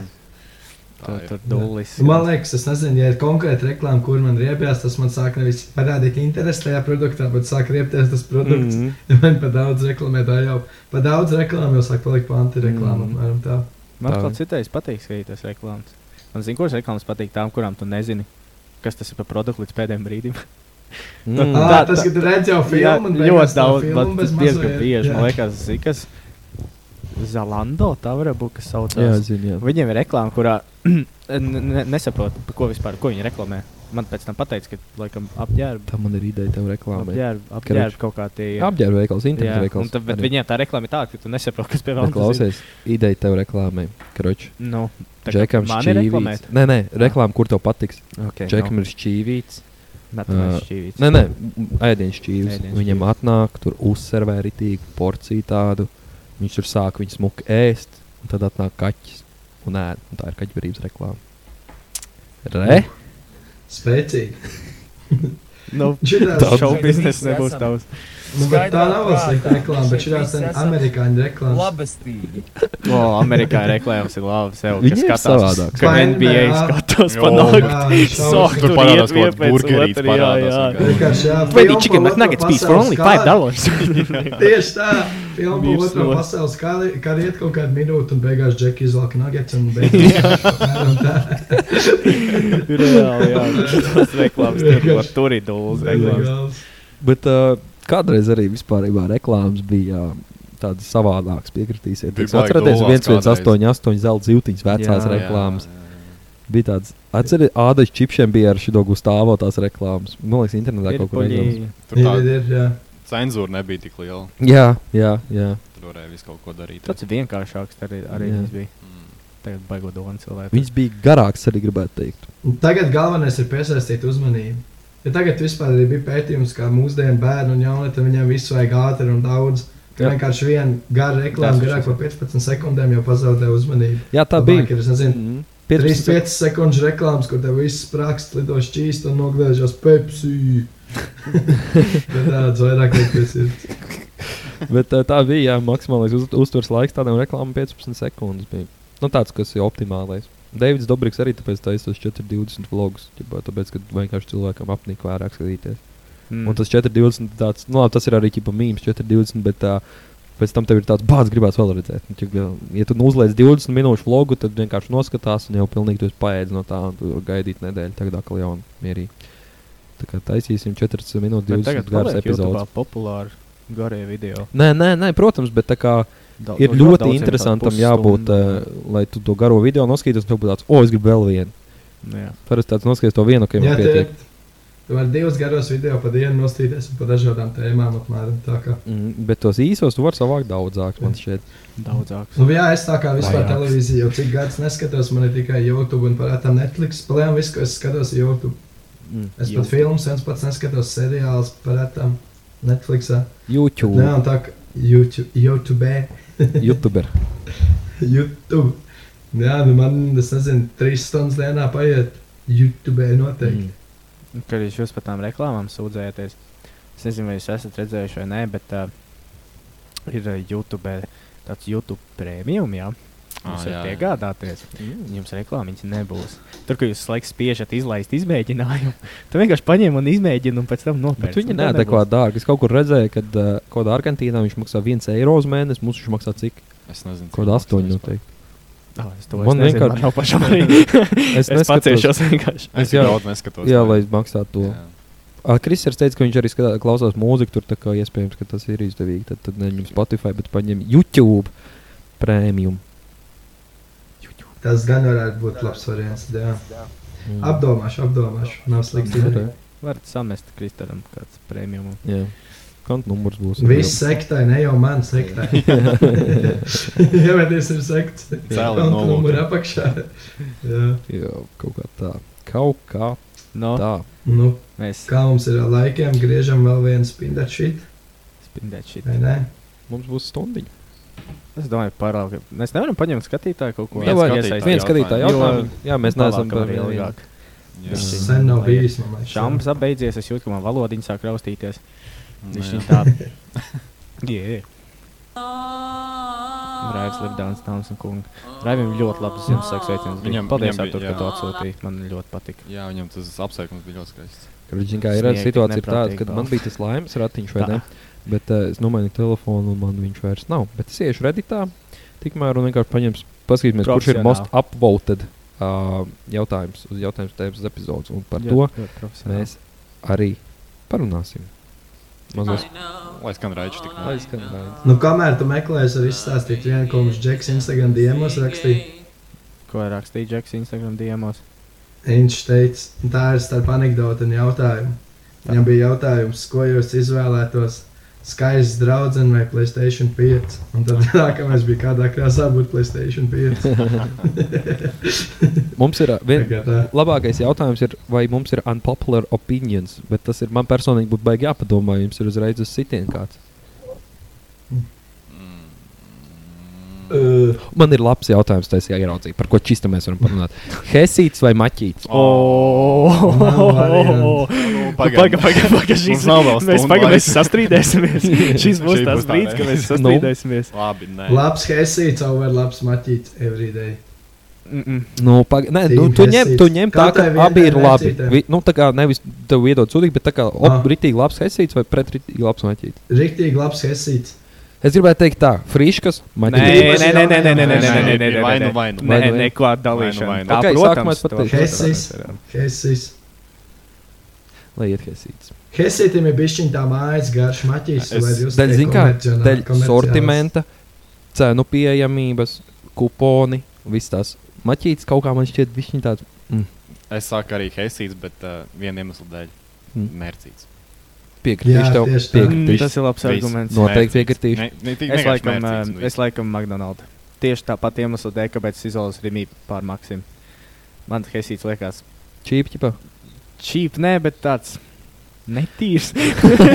Tā ir. Tur dullis. Man liekas, es nezinu, ja ir konkrēti reklāma, kur man riepjas, tas man sāk nevis parādīt interesi tajā produktā, bet sāk riepties tas mm produkts. Mm Mhm. -hmm. -hmm. Man pa daudz reklāmē, tā jau pa daudz reklāmē, jau sāk palikt pa antireklāmu. Mhm. Mm -hmm. Man Tā. kā citais patīk skatīties reklāmas. Man zina, kuras reklāmas patīk tām, kurām tu nezini, kas tas ir par produktu līdz pēdējiem brīdim. Mm. Ah, tas, kad redz jau filmu un jā, beigās ļoti tā daudz, filma bet bez tas diezgan mazliet, bieži, jā. man liekas, zina, kas Zalando tā var būt, kas saucās. Jā, zinu, jā. Viņiem ir reklāma, kurā n- ne, nesaprot, pa ko vispār, ko viņi reklamē. Man pēc tam pateica, ka laikam apģērba. Tā man ir ideja tev reklāmai. Apģērba, apģērba kaut kā tie Apģērba veikals, internetu Jā, veikals un tad- Bet arī. viņiem tā reklāma ir tāda, ka tu nesaproti, kas pie Bet mums Klausies, ideja tev reklāmai. Kroč. Nu, tā kā Džekam mani šķīvīts. reklamēt? Ah. Nē, nē, reklāma, kur tev patiks. Ok, Džekam nu. ir šķīvīts. Metamais ā, šķīvīts. Nē, nē, m- ēdienas šķīvis. Ēdienas Viņam atnāk, tur uzservē ritīgi porciju tādu. Viņš tur sāk viņu smuku ēst, un tad atnāk kaķis. Un, ēd, un tā ir kaķbrības reklāma. Re? Spēcīgi. Nu, Šitās- tas šau biznesa nebūs tavs. Nu, bet tā nav vēl slikta reklāma, bet šī ir amerikāņu reklāma. Labestīgi. O, Amerikā reklāmas ir labi. Sev, Viņiem ir kas savādāk. skatās, kā Fine, NBA jā. skatās Jo, pa jā, nakti. šausmas. Tur Sok, Tur parādās parādās kaut kāds burgerīts, parādās kaut burgerīts. Vienkārši, jā, Baby filmu par chicken, but otro nuggets piece for pasaules only kāru. 5 dollars. Tieši tā, filma Mirs par otro no- pasaules kari- karu iet kaut kādu minūti, un beigās Džeki izvelk nuggets un beigās. Apmēram tā. Reāli, jā, tas reklāmas tur, kur Vienkārši. tur ir dūles reklāmas. Legāls. Bet uh, kādreiz arī vispār reklāmas bija. Tādas savādākas piekritīsiet. Bija Jūs baigi atceraties, dolās 1188 zelta zīltiņas vecās Jā, jā, reklāmas. Bija tādas, atcerieties, ādas čipšiem bija ar šo gustāvo tās reklāmas. Man liekas, internetā Ir kaut kur poļi. redzams. Tur tā Ir, ir, jā. cenzūra nebija tik liela. Jā, jā, jā. Tur varēja visu kaut ko darīt. Tas ir vienkāršāks arī, arī Jā. viņas bija. Mm. Tagad baigo donu cilvēku. Viņas bija garākas arī gribētu teikt. Un Tagad galvenais ir piesaistīt uzmanību. Ja tagad vispār arī bija pētījums, kā mūsdienu bērnu un jaunieti viņam visu vajag ātri un daudz. Ka Jā. vienkārši viena gara reklāma, Tas garāk par 15 sekundēm jau pazaudē uzmanību. Jā, tā bija. Labāk Ir, es nezinu, Mm. Mhm. 35 sekundes reklāmas, kur tev viss sprākst, lidos čīst un nogriežas Pepsi. Bet tāds vairāk nepiesaistīt. Bet uh, tā bija jā, maksimālais uz, uzturs laiks tādam reklāmam 15 sekundes. Bija. Nu, tāds, kas ir optimālais. Davids Dobriks arī tāpēc taisa tos 420 vlogus. ķipā, Tāpēc, ka vienkārši cilvēkam apnika vairāk skatīties. Mm. Un tas 420 tāds, nu, labi, tas ir arī ķipa mīmīms 420, bet tā, pēc tam tev ir tāds bāds, gribēs vēl redzēt. Un, ķipa, ja tu uzliec 20 minūšu vlogu, tad vienkārši noskatās un jau pilnīgi tu esi paēdis no tā, un tu vari gaidīt nedēļu, tagad atkal jau mierīgi. Tā kā taisīsim 40 minūtes, Bet 20 tagad garas garas epizodes. epizodes. populāri garie video. Nē, nē, nē, protams, bet tā kā Da, ir ļoti interesantam jābūt, uh, lai tu to garo video noskatītos, un tev būtu tāds, o, es gribu vēl vienu. Jā. Parasti tāds noskaties to vienu, ka jau Jā, pietiek. tiek. Tu vari divus garos video pa dienu nostīties un pa dažādām tēmām apmēram tā kā. Mm, bet tos īsos tu vari savākt daudzāk, man šķiet. Daudzāks. Nu, jā, es tā kā vispār Vajāks. televīziju jau cik gadus neskatos, man ir tikai YouTube un parāda Netflix. Plēm visu, ko es skatos YouTube. Mm. Es pat filmas viens pats neskatos seriāls parāda Netflixā. YouTube. Nē, un tā kā YouTube, YouTube, YouTuber. YouTube. Jā, nu man, es nezinu, trīs stundas dienā paiet YouTube noteikti. Mm. Kad jūs jūs par tām reklāmām sūdzējaties, es nezinu, vai jūs esat redzējuši vai nē, bet uh, ir uh, YouTube, tāds YouTube prēmijum, jā. Ah, Jūs varat jā, jā. iegādāties. Jums reklāmas nebūs. Tur, kur jūs laiks spiežat izlaist izmēģinājumu, tad vienkārši paņem un izmēģina un pēc tam Bet nopērk. viņi Un tā neadekvāti dārgi. Es kaut kur redzēju, ka uh, kaut kādā Argentīnā viņš maksā 1 eiro uz mēnesi, mums viņš maksā cik? Es nezinu, Kaut nu, kāda 8 nebūs. noteikti. Ah, es to Man man vienkārši- vienkārši nav pašam arī. Es, es neskatos- paciešos vienkārši. Es jā. jau daudz neskatos. Jā, lai maksātu to. Jā. Ah, Kristers teica, ka viņš arī skatā, klausās mūziku, tur tā kā iespējams, ka tas ir izdevīgi. Tad, tad neņem Spotify, bet paņem YouTube prēmiju. Tas gan varētu būt labs variants. Jā. Mm. Apdomāšu, apdomāšu. Nav slikti. Apdomāšu. Varat samest Kristaram kāds prēmijum. Jā, konta numurs būs. Viss sektai, ne jau man sektai. Jā, bet es esmu sekts. Cēlā Un tu numuri nolūka. apakšā. Jā. Jā, kaut kā tā. Kaut kā No, tā. Nu, mēs kā mums ir ar laikiem, griežam vēl vienu spindēt šīt, spindēt šī. vai ne? Mums būs stundiņa. Es domāju, parādi. Mēs nevaram paņemt skatītāju kaut ko. Viens Davai, skatītāju viens skatītāju jautājumu. jautājumu. Jā, mēs neesam par jā, jā. ilgāk. Jā. Tas Visi. sen nav Vai- bijis, man liekas. Šāms apbeidzies, es jūtu, ka man valodiņa sāk raustīties. Nu, Viņš jā. ir tāds. Jā. Raivs Lipdāns, Dāmas un kungi. Raivim ļoti labs Ziemassvētku sveiciens. Viņam Viņam- paldies, viņam bija- Artur, ka jā. tu atsūtīji. Man ļoti patika. Jā, viņam tas apsveikums bija ļoti skaists. Kad, zin, kā, ir arī Sniegt situācija ir tāda, neprātīgi ka balsts. man bija tas laimes ratiņš, vai Tā. ne? Bet uh, es nomainīju telefonu, un man viņš vairs nav. Bet es iešu redītā, tikmēr un vienkārši paņemšu, paskatīsimies, kurš ir most upvoted uh, jautājums uz jautājumu tēmas epizodes. Un par to mēs arī parunāsim. Mazos Lai skan raidījums tik Lai skan raidījums. Nu, kamēr tu meklēsi, var izstāstīt vienu, ko mums Džeks Instagram diemos rakstīja. Ko ir rakstījis Džeks Instagram diemos? Viņš teica, tā ir starp anekdoti un jautājumu. Viņam bija jautājums, ko jūs izvēlētos. Skaists draugs vai Playstation 5. Un tad nākamais bija kādā krāsā būt Playstation 5. Mums ir ā, vien, Tagad, ā. labākais jautājums, ir, vai mums ir unpopular opinions, bet tas ir man personīgi būtu baigi jāpadomā, ja jums ir uzreiz uz sitienu kāds. Uh, Man ir labs jautājums, tas ir jāieraudzīt, par ko čista mēs varam parunāt. Hesīts vai maķīts? Oh! nu, Pagaidām, pagaidām, šis Mums nav vēl Mēs stundu pagaidām laika. sastrīdēsimies. Šis būs Šī būs tas tā, brīdis, ne? kad mēs Nu. sastrīdēsimies. Labi, nē. labs hesīts, over labs maķīts everyday. Mm -mm. Nu, pag... Nē, nu, Team tu ņem, Hesīts. tu ņem tā, ka Katrai vienai abi ir labi. vecītei. Vi, nu, tā kā nevis tev iedod sūdīgi, bet tā kā Ah. op, ritīgi labs hesīts vai pretrītīgi labs maķīts. Riktīgi labs hesīts. Es gribēju teikt tā, friškas, Nu? Nē, maķītis. nē, nē, nē, nē, nē, nē, nē, nē, nē, Vai nu, vai nu. nē, Vai nu, vai nē, nu. neko dalīšanu. Vai nu, vai nu. Tā, Ok, protams, sākumā es to- Hesīs. Hesīts. Lai iet hesīts. Hesītam ir bijis tā mājas garš, maķis. Es- Daļai zinkā, daļai sortimenta, cenu pieejamības, kuponi, viss tās. Maķītis kaut kā man šķiet, viņš ir tāds Es saku arī Helsīds, bet uh, viena iemesla dēļ Mm. - mērcīts. piekritīšu Jā, tev. tieši Mm, tā. Piekritīšu. Tas ir labs Viss. arguments. No- Noteikti Mērcīts. piekritīšu. Ne, ne, tik Es vienkārši laikam, mērcīts un ā, es viss. laikam McDonald's. Tieši tāpat iemesla dēļ, kāpēc es izolēju Rimī pār Maksim. Man Hesīts liekas Čīpķipa. čīp, nē, bet tāds netīrs.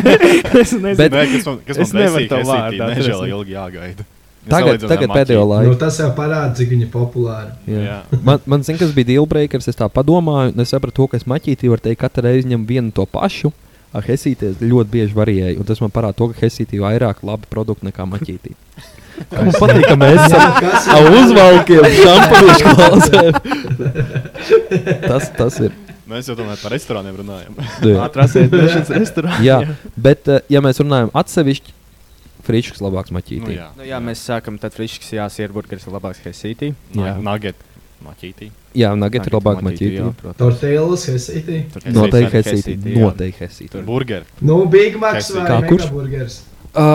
es nezinu. Bet- Nē, kas man- Kas Es man nevaru besīja tev vārdu Helsītī, atrast. nežēl ilgi jāgaida. Es Tagad, salīdzinu ar tagad Maki. pēdējo Nu, laiku. tas jau parāda, cik viņa populāra. Jā. Jā. Man, man zina, kas bija dealbreakers. Es tā domāju, un es sapratu, to, ka es maķītī varu teikt, katru reizi ņem vienu to pašu. Ar Hesītī es ļoti bieži varēju, un tas man parāda, to, ka Hesītī ir vairāk labi produkti nekā maķītī. Kā Man patīk, ka mēs esam Kas ar uzvalkiem, šampaniešu klausēm. Tas, tas ir. Mēs jau tomēr par restorāniem runājam. Jā. Atrasiet dažas restorānus. Jā, bet, eh, ja mēs runājam atsevišķi, Frīčs labāks maķītī. Nu, jā, Nu, jā, mēs sākam tad friškas, jā, sierburgers ir labāks Hesītī. jā. Nu Nugget. Maķītī. jā nugget ir Nugget labāk maķītī, maķītī. jā, protams. Tortillas, hesītī. Noteikti Hesītī, Hesītī. jā. Noteikti Hesītī. Burger. Nu, Big Macs vai Kā, kurš? Hamburgers. Uh,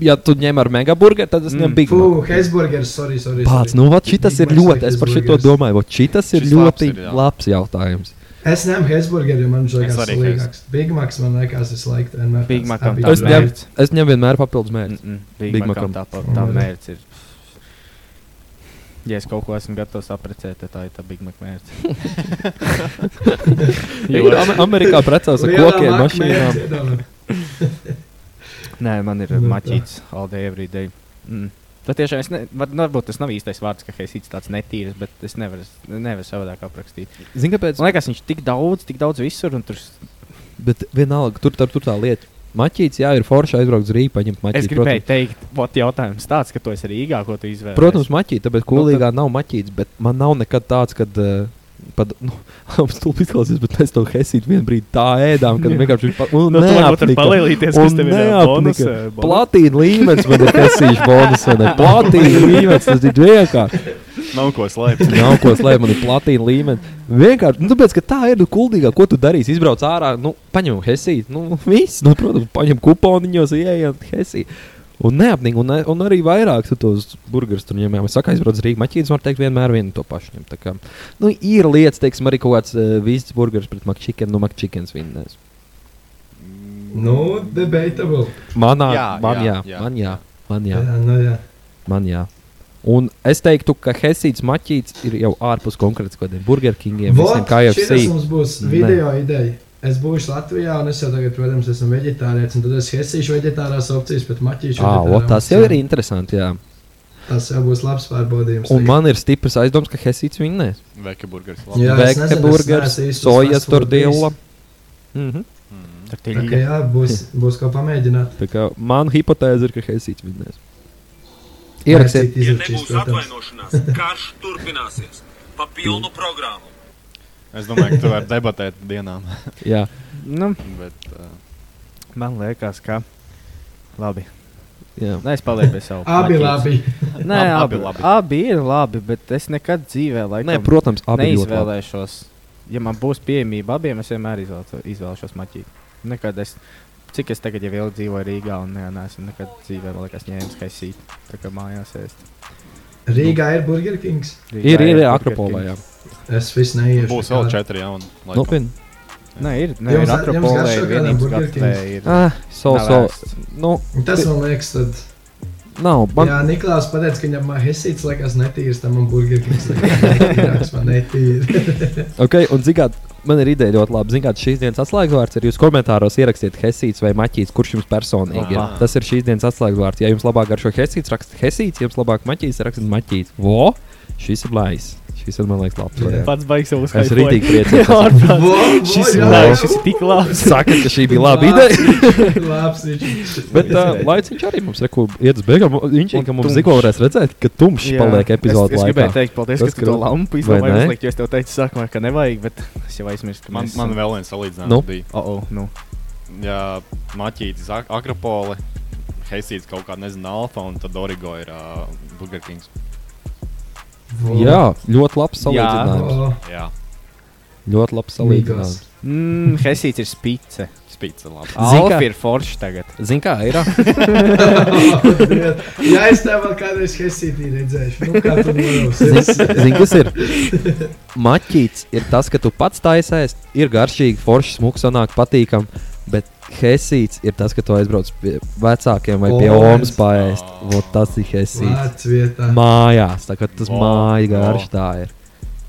ja tu ņem ar megaburgeru, tad es Mm. ņemu mm. Big Mac. Fū, Hesburgers, sorry, sorry. Pats, sorry. nu, vat šitas Big ir Macs ļoti, vai es par šito cheeseburgers? domāju, vat šitas ir Šis labs ļoti ir, jā. labs jautājums. Es ņemu Hesburgeri, jo man viņš Es liekas arī slīgāks. Big Macs man liekas vislaikt vienmēr. Big tāds Macam tā abi Mm, Es ir. ņemu, es ņemu vienmēr papildus mērķi. Big Big Macam Mm. Macam. tā, pa- tā mērķis ir. Ja es kaut ko esmu gatavs apprecēt, tad tā ir tā Big Mac mērķis. Ir Am- Amerikā precās ar Lielā nu, kokiem, Mac mašīnām. mērķi, iedomā. Nē, man ir Nu, tā. maķīts all day, every day. Mm. Tad tiešām es nevaru, varbūt tas nav īstais vārds, ka Hesīts tāds netīrs, bet es nevaru, nevaru savādāk aprakstīt. Zini, kāpēc? Man liekas, viņš tik daudz, tik daudz visur, un tur s- Bet vienalga, tur, tur, tur tā lieta. Maķīts, jā, ir forši aizbraukt uz Rīgā, paņemt Es maķīti. gribēju teikt, ot, jautājums tāds, ka tu esi Rīgā, ko tu izvēlējies. Protams, maķīte, tāpēc Nu, kolīgā nav maķīts, bet man nav nekad tāds, kad. Uh, Pat, nu, stulbi izklausās, bet mēs to hesītu vienā brīdī tā ēdām, kad vienkārši bija pārāk nu, tu varbūt tur palielīties, Un kas tev ir ā, bonus, neapnika. ā, bonus. Platīna līmenis, bet ir hesīšu bonus. vai ne? Platīna līmenis, tas ir vienkārši. Nav ko slēpt. Nav ko slēpt, man ir platīna līmenis. Vienkārši, nu, tāpēc, ka tā ir nu, kuldīgā, ko tu darīsi, izbrauc ārā, nu, paņem hesītu, nu, viss, nu, protams, paņem kuponiņos, ieejam hesītu. Un neapnīgi, un, un arī vairāk tu tos burgerus tur ņemām. Es saku, aizbraucu uz Rīgā. Maķītis var teikt, vienmēr vienu to pašu ņem. Tā kā, nu, ir lietas, teiksim, arī kaut kāds uh, vīzdas burgeris pret makšķikenu, nu, makšķikens vinnēs. Nu, debatable. Manā, jā, Jā, man jā, jā, jā, jā. man jā, man jā, Jā, nu jā. man jā. Un es teiktu, ka Helsīds maķīts ir jau ārpus konkrēti kaut kādiem burgerkungiem, visiem Vot, šitas KFC. mums būs Nē. video ideja. Es būšu Latvijā, un es jau tagad, protams, esmu vegetārietis, un tad es hesīšu vegetārās opcijas, bet maķīšu. Ah, vegetārā o, tas jau opcijā. ir interesanti, jā. Tas jau būs labs pārbaudījums. Un man ir stiprs aizdoms, ka Helsīds vinnēs. Veka burgers. Jā, es nezinu, Vekta es burgeris, neesmu īsti sojas uzmanīgs. tordilla. Mhm. Tur Tā tiļi. kā jā, būs, būs ko pamēģināt. Tā kā man hipotēze ir, ka Helsīds vinnēs. Ierakstiet, Cik izrakstīs, protams. atvainošanās, karš turpināsies pa pilnu programmu. Es domāju, ka tu vari debatēt dienām. jā. Nu, Bet, uh, man liekas, ka labi. Jā. Nē, es palieku pie sava. Abi plaķītes. labi. Nē, Ab- abi, abi labi. labi. abi ir labi, bet es nekad dzīvē, laikam, Nē, protams, abi ļoti labi. neizvēlēšos. Ja man būs pieejamība abiem, es vienmēr izvēlēšos, izvēlēšos maķīti. Nekad es, cik es tagad jau ilgi dzīvoju Rīgā, un nē, neesmu nekad dzīvē, man liekas, ņēmis kaisīt. Tā kā mājās ēst. Rīgā ir Burger Kings. Rīgā Ir, ir, ir Burger Akropolā. Kings. jā. Nu, Es visu neiešu. Būs vēl četri jauni. laikam. Nopietni. Nē, ir, nē, Jums- ir jums Akropolā, garšo ir kādam vienības Burger gatavē. Kings? ir- Ah, so, nav so. ēsts. Nu, Tas man liekas, tad. nav. Man... Man, Jā, Niklaus pateica, ka viņam hesīts liekas netīrs, tam man Burger Kings liekas netīrs, man netīrs. Okay, un, zināt, man ir ideja ļoti labi. Zināt, šīs dienas atslēgvārds ir jūs komentāros ierakstiet Hesīts vai Maķis, kurš jums personīgi ir. Aha. Tas ir šīs dienas atslēgvārds. Ja jums labāk garšo Hesīts, rakstiet Hesīts, jums labāk Maķis, rakstiet Maķis. Vo! Šis ir lais. Šis ir man liekas labs. Jā. variants. Pats baigs savus Es rītīgi priecājos. Ārprāt. Šis Šis ir labs, šis ir tik labs. Sakat, ka šī bija laba ideja. Labs viņš. Bet uh, laiciņš arī mums reku, iet uz beigām. Viņš Un ir, ka mums tumšs. tikko varēs redzēt, ka tumšs Jā. paliek es, epizodes es gribēju laikā. teikt, paldies, Tas ka tu to grūti. lampu Vai izdomāji ne? uzlikt. Jo es tev teicu, sākumā, ka nevajag, bet es jau aizmirsu, ka Man, mēs eh, man esam- vēl viens salīdzinājums Nu. nu. bija. Oh, oh, nu. Jā, Maķītis, Ak- Akropole, Hesīts kaut kāda, nezinu, Alfa un tad Origo ir uh, Burger Kings. Jā, ļoti labs salīdzinājums. Jā, Ļoti labs salīdzinājums. Mm, Hesīts ir spīce. spīts ir labi. Zini, Alfa kā- ir forša tagad. Zini, kā ir? Jā, es tev vēl kādreiz hesītī redzēšu. Nu, kā tu norausies. Zini, kas ir? Maķis ir tas, ka tu pats taisēs, ir garšīgi, forši, smūgi sanāk, patīkami. Bet hesīts ir tas, ka tu aizbrauc pie vecākiem vai pie Oi. omas paēst. Vot Tas ir hesīts. Vārds vietā. Mājās, tā kā tas Vo, māja garš vo. tā ir.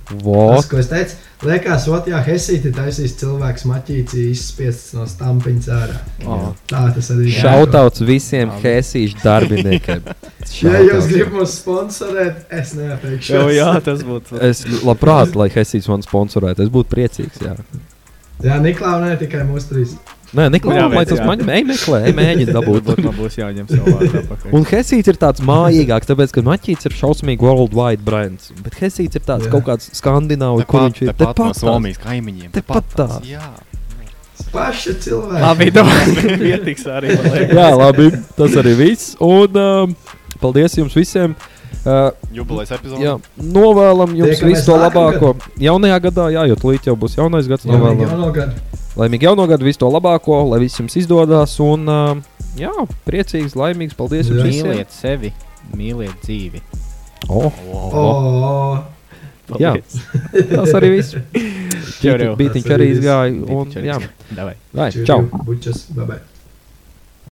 Vot. Tas, ko es teicu, liekas, otrā hesītī taisīs cilvēks maķīcī izspiests no stampiņas ārā. Oh. Tā tas arī ir. Šautauts visiem hesīšu darbiniekiem. Ja jūs Shoutouts. gribat mums sponsorēt, es neapteikšu. Jau, jā, tas būtu. Es labprāt, lai Hesijs man sponsorētu. Es būtu priecīgs. Jā, jā Niklaus, ne tikai mūsu trīs. Nē, Niklaus, Jā, lai bet tas jā. man ej, meklē, ej, mēģina dabūt. Varbūt man būs jāņem savā. Un Hesijs ir tāds mājīgāks, tāpēc, ka Maķis ir šausmīgi worldwide brands. Bet Hesijs ir tāds Jā. kaut kāds skandināvi, kur viņš ir. Tepat no tās. Somijas kaimiņiem. Tepat tā. tās, Jā. Paši cilvēki. Labi, domāju, pietiks arī. man liekas. Jā, labi, tas arī viss. Un um, paldies jums visiem. Uh, Jubilejas epizode. jā, novēlam jums Tiekamies visu to nākamgad. labāko. Jaunajā gadā, jā, jo tūlīt jau būs jaunais gads. Jā, Novēlam jau no gada. laimīgu jauno gadu, visu to labāko, lai viss jums izdodas. Un, ā, jā, priecīgs, laimīgs, paldies jums Jā. visiem. Mīliet sevi, mīliet dzīvi. Oh, Oh, jā, tas arī viss. Čau, čau. Bija viņš arī izgājis. Bitiņš arī Jā, Davai. Vai, čau. čau! Bučas, bye bye.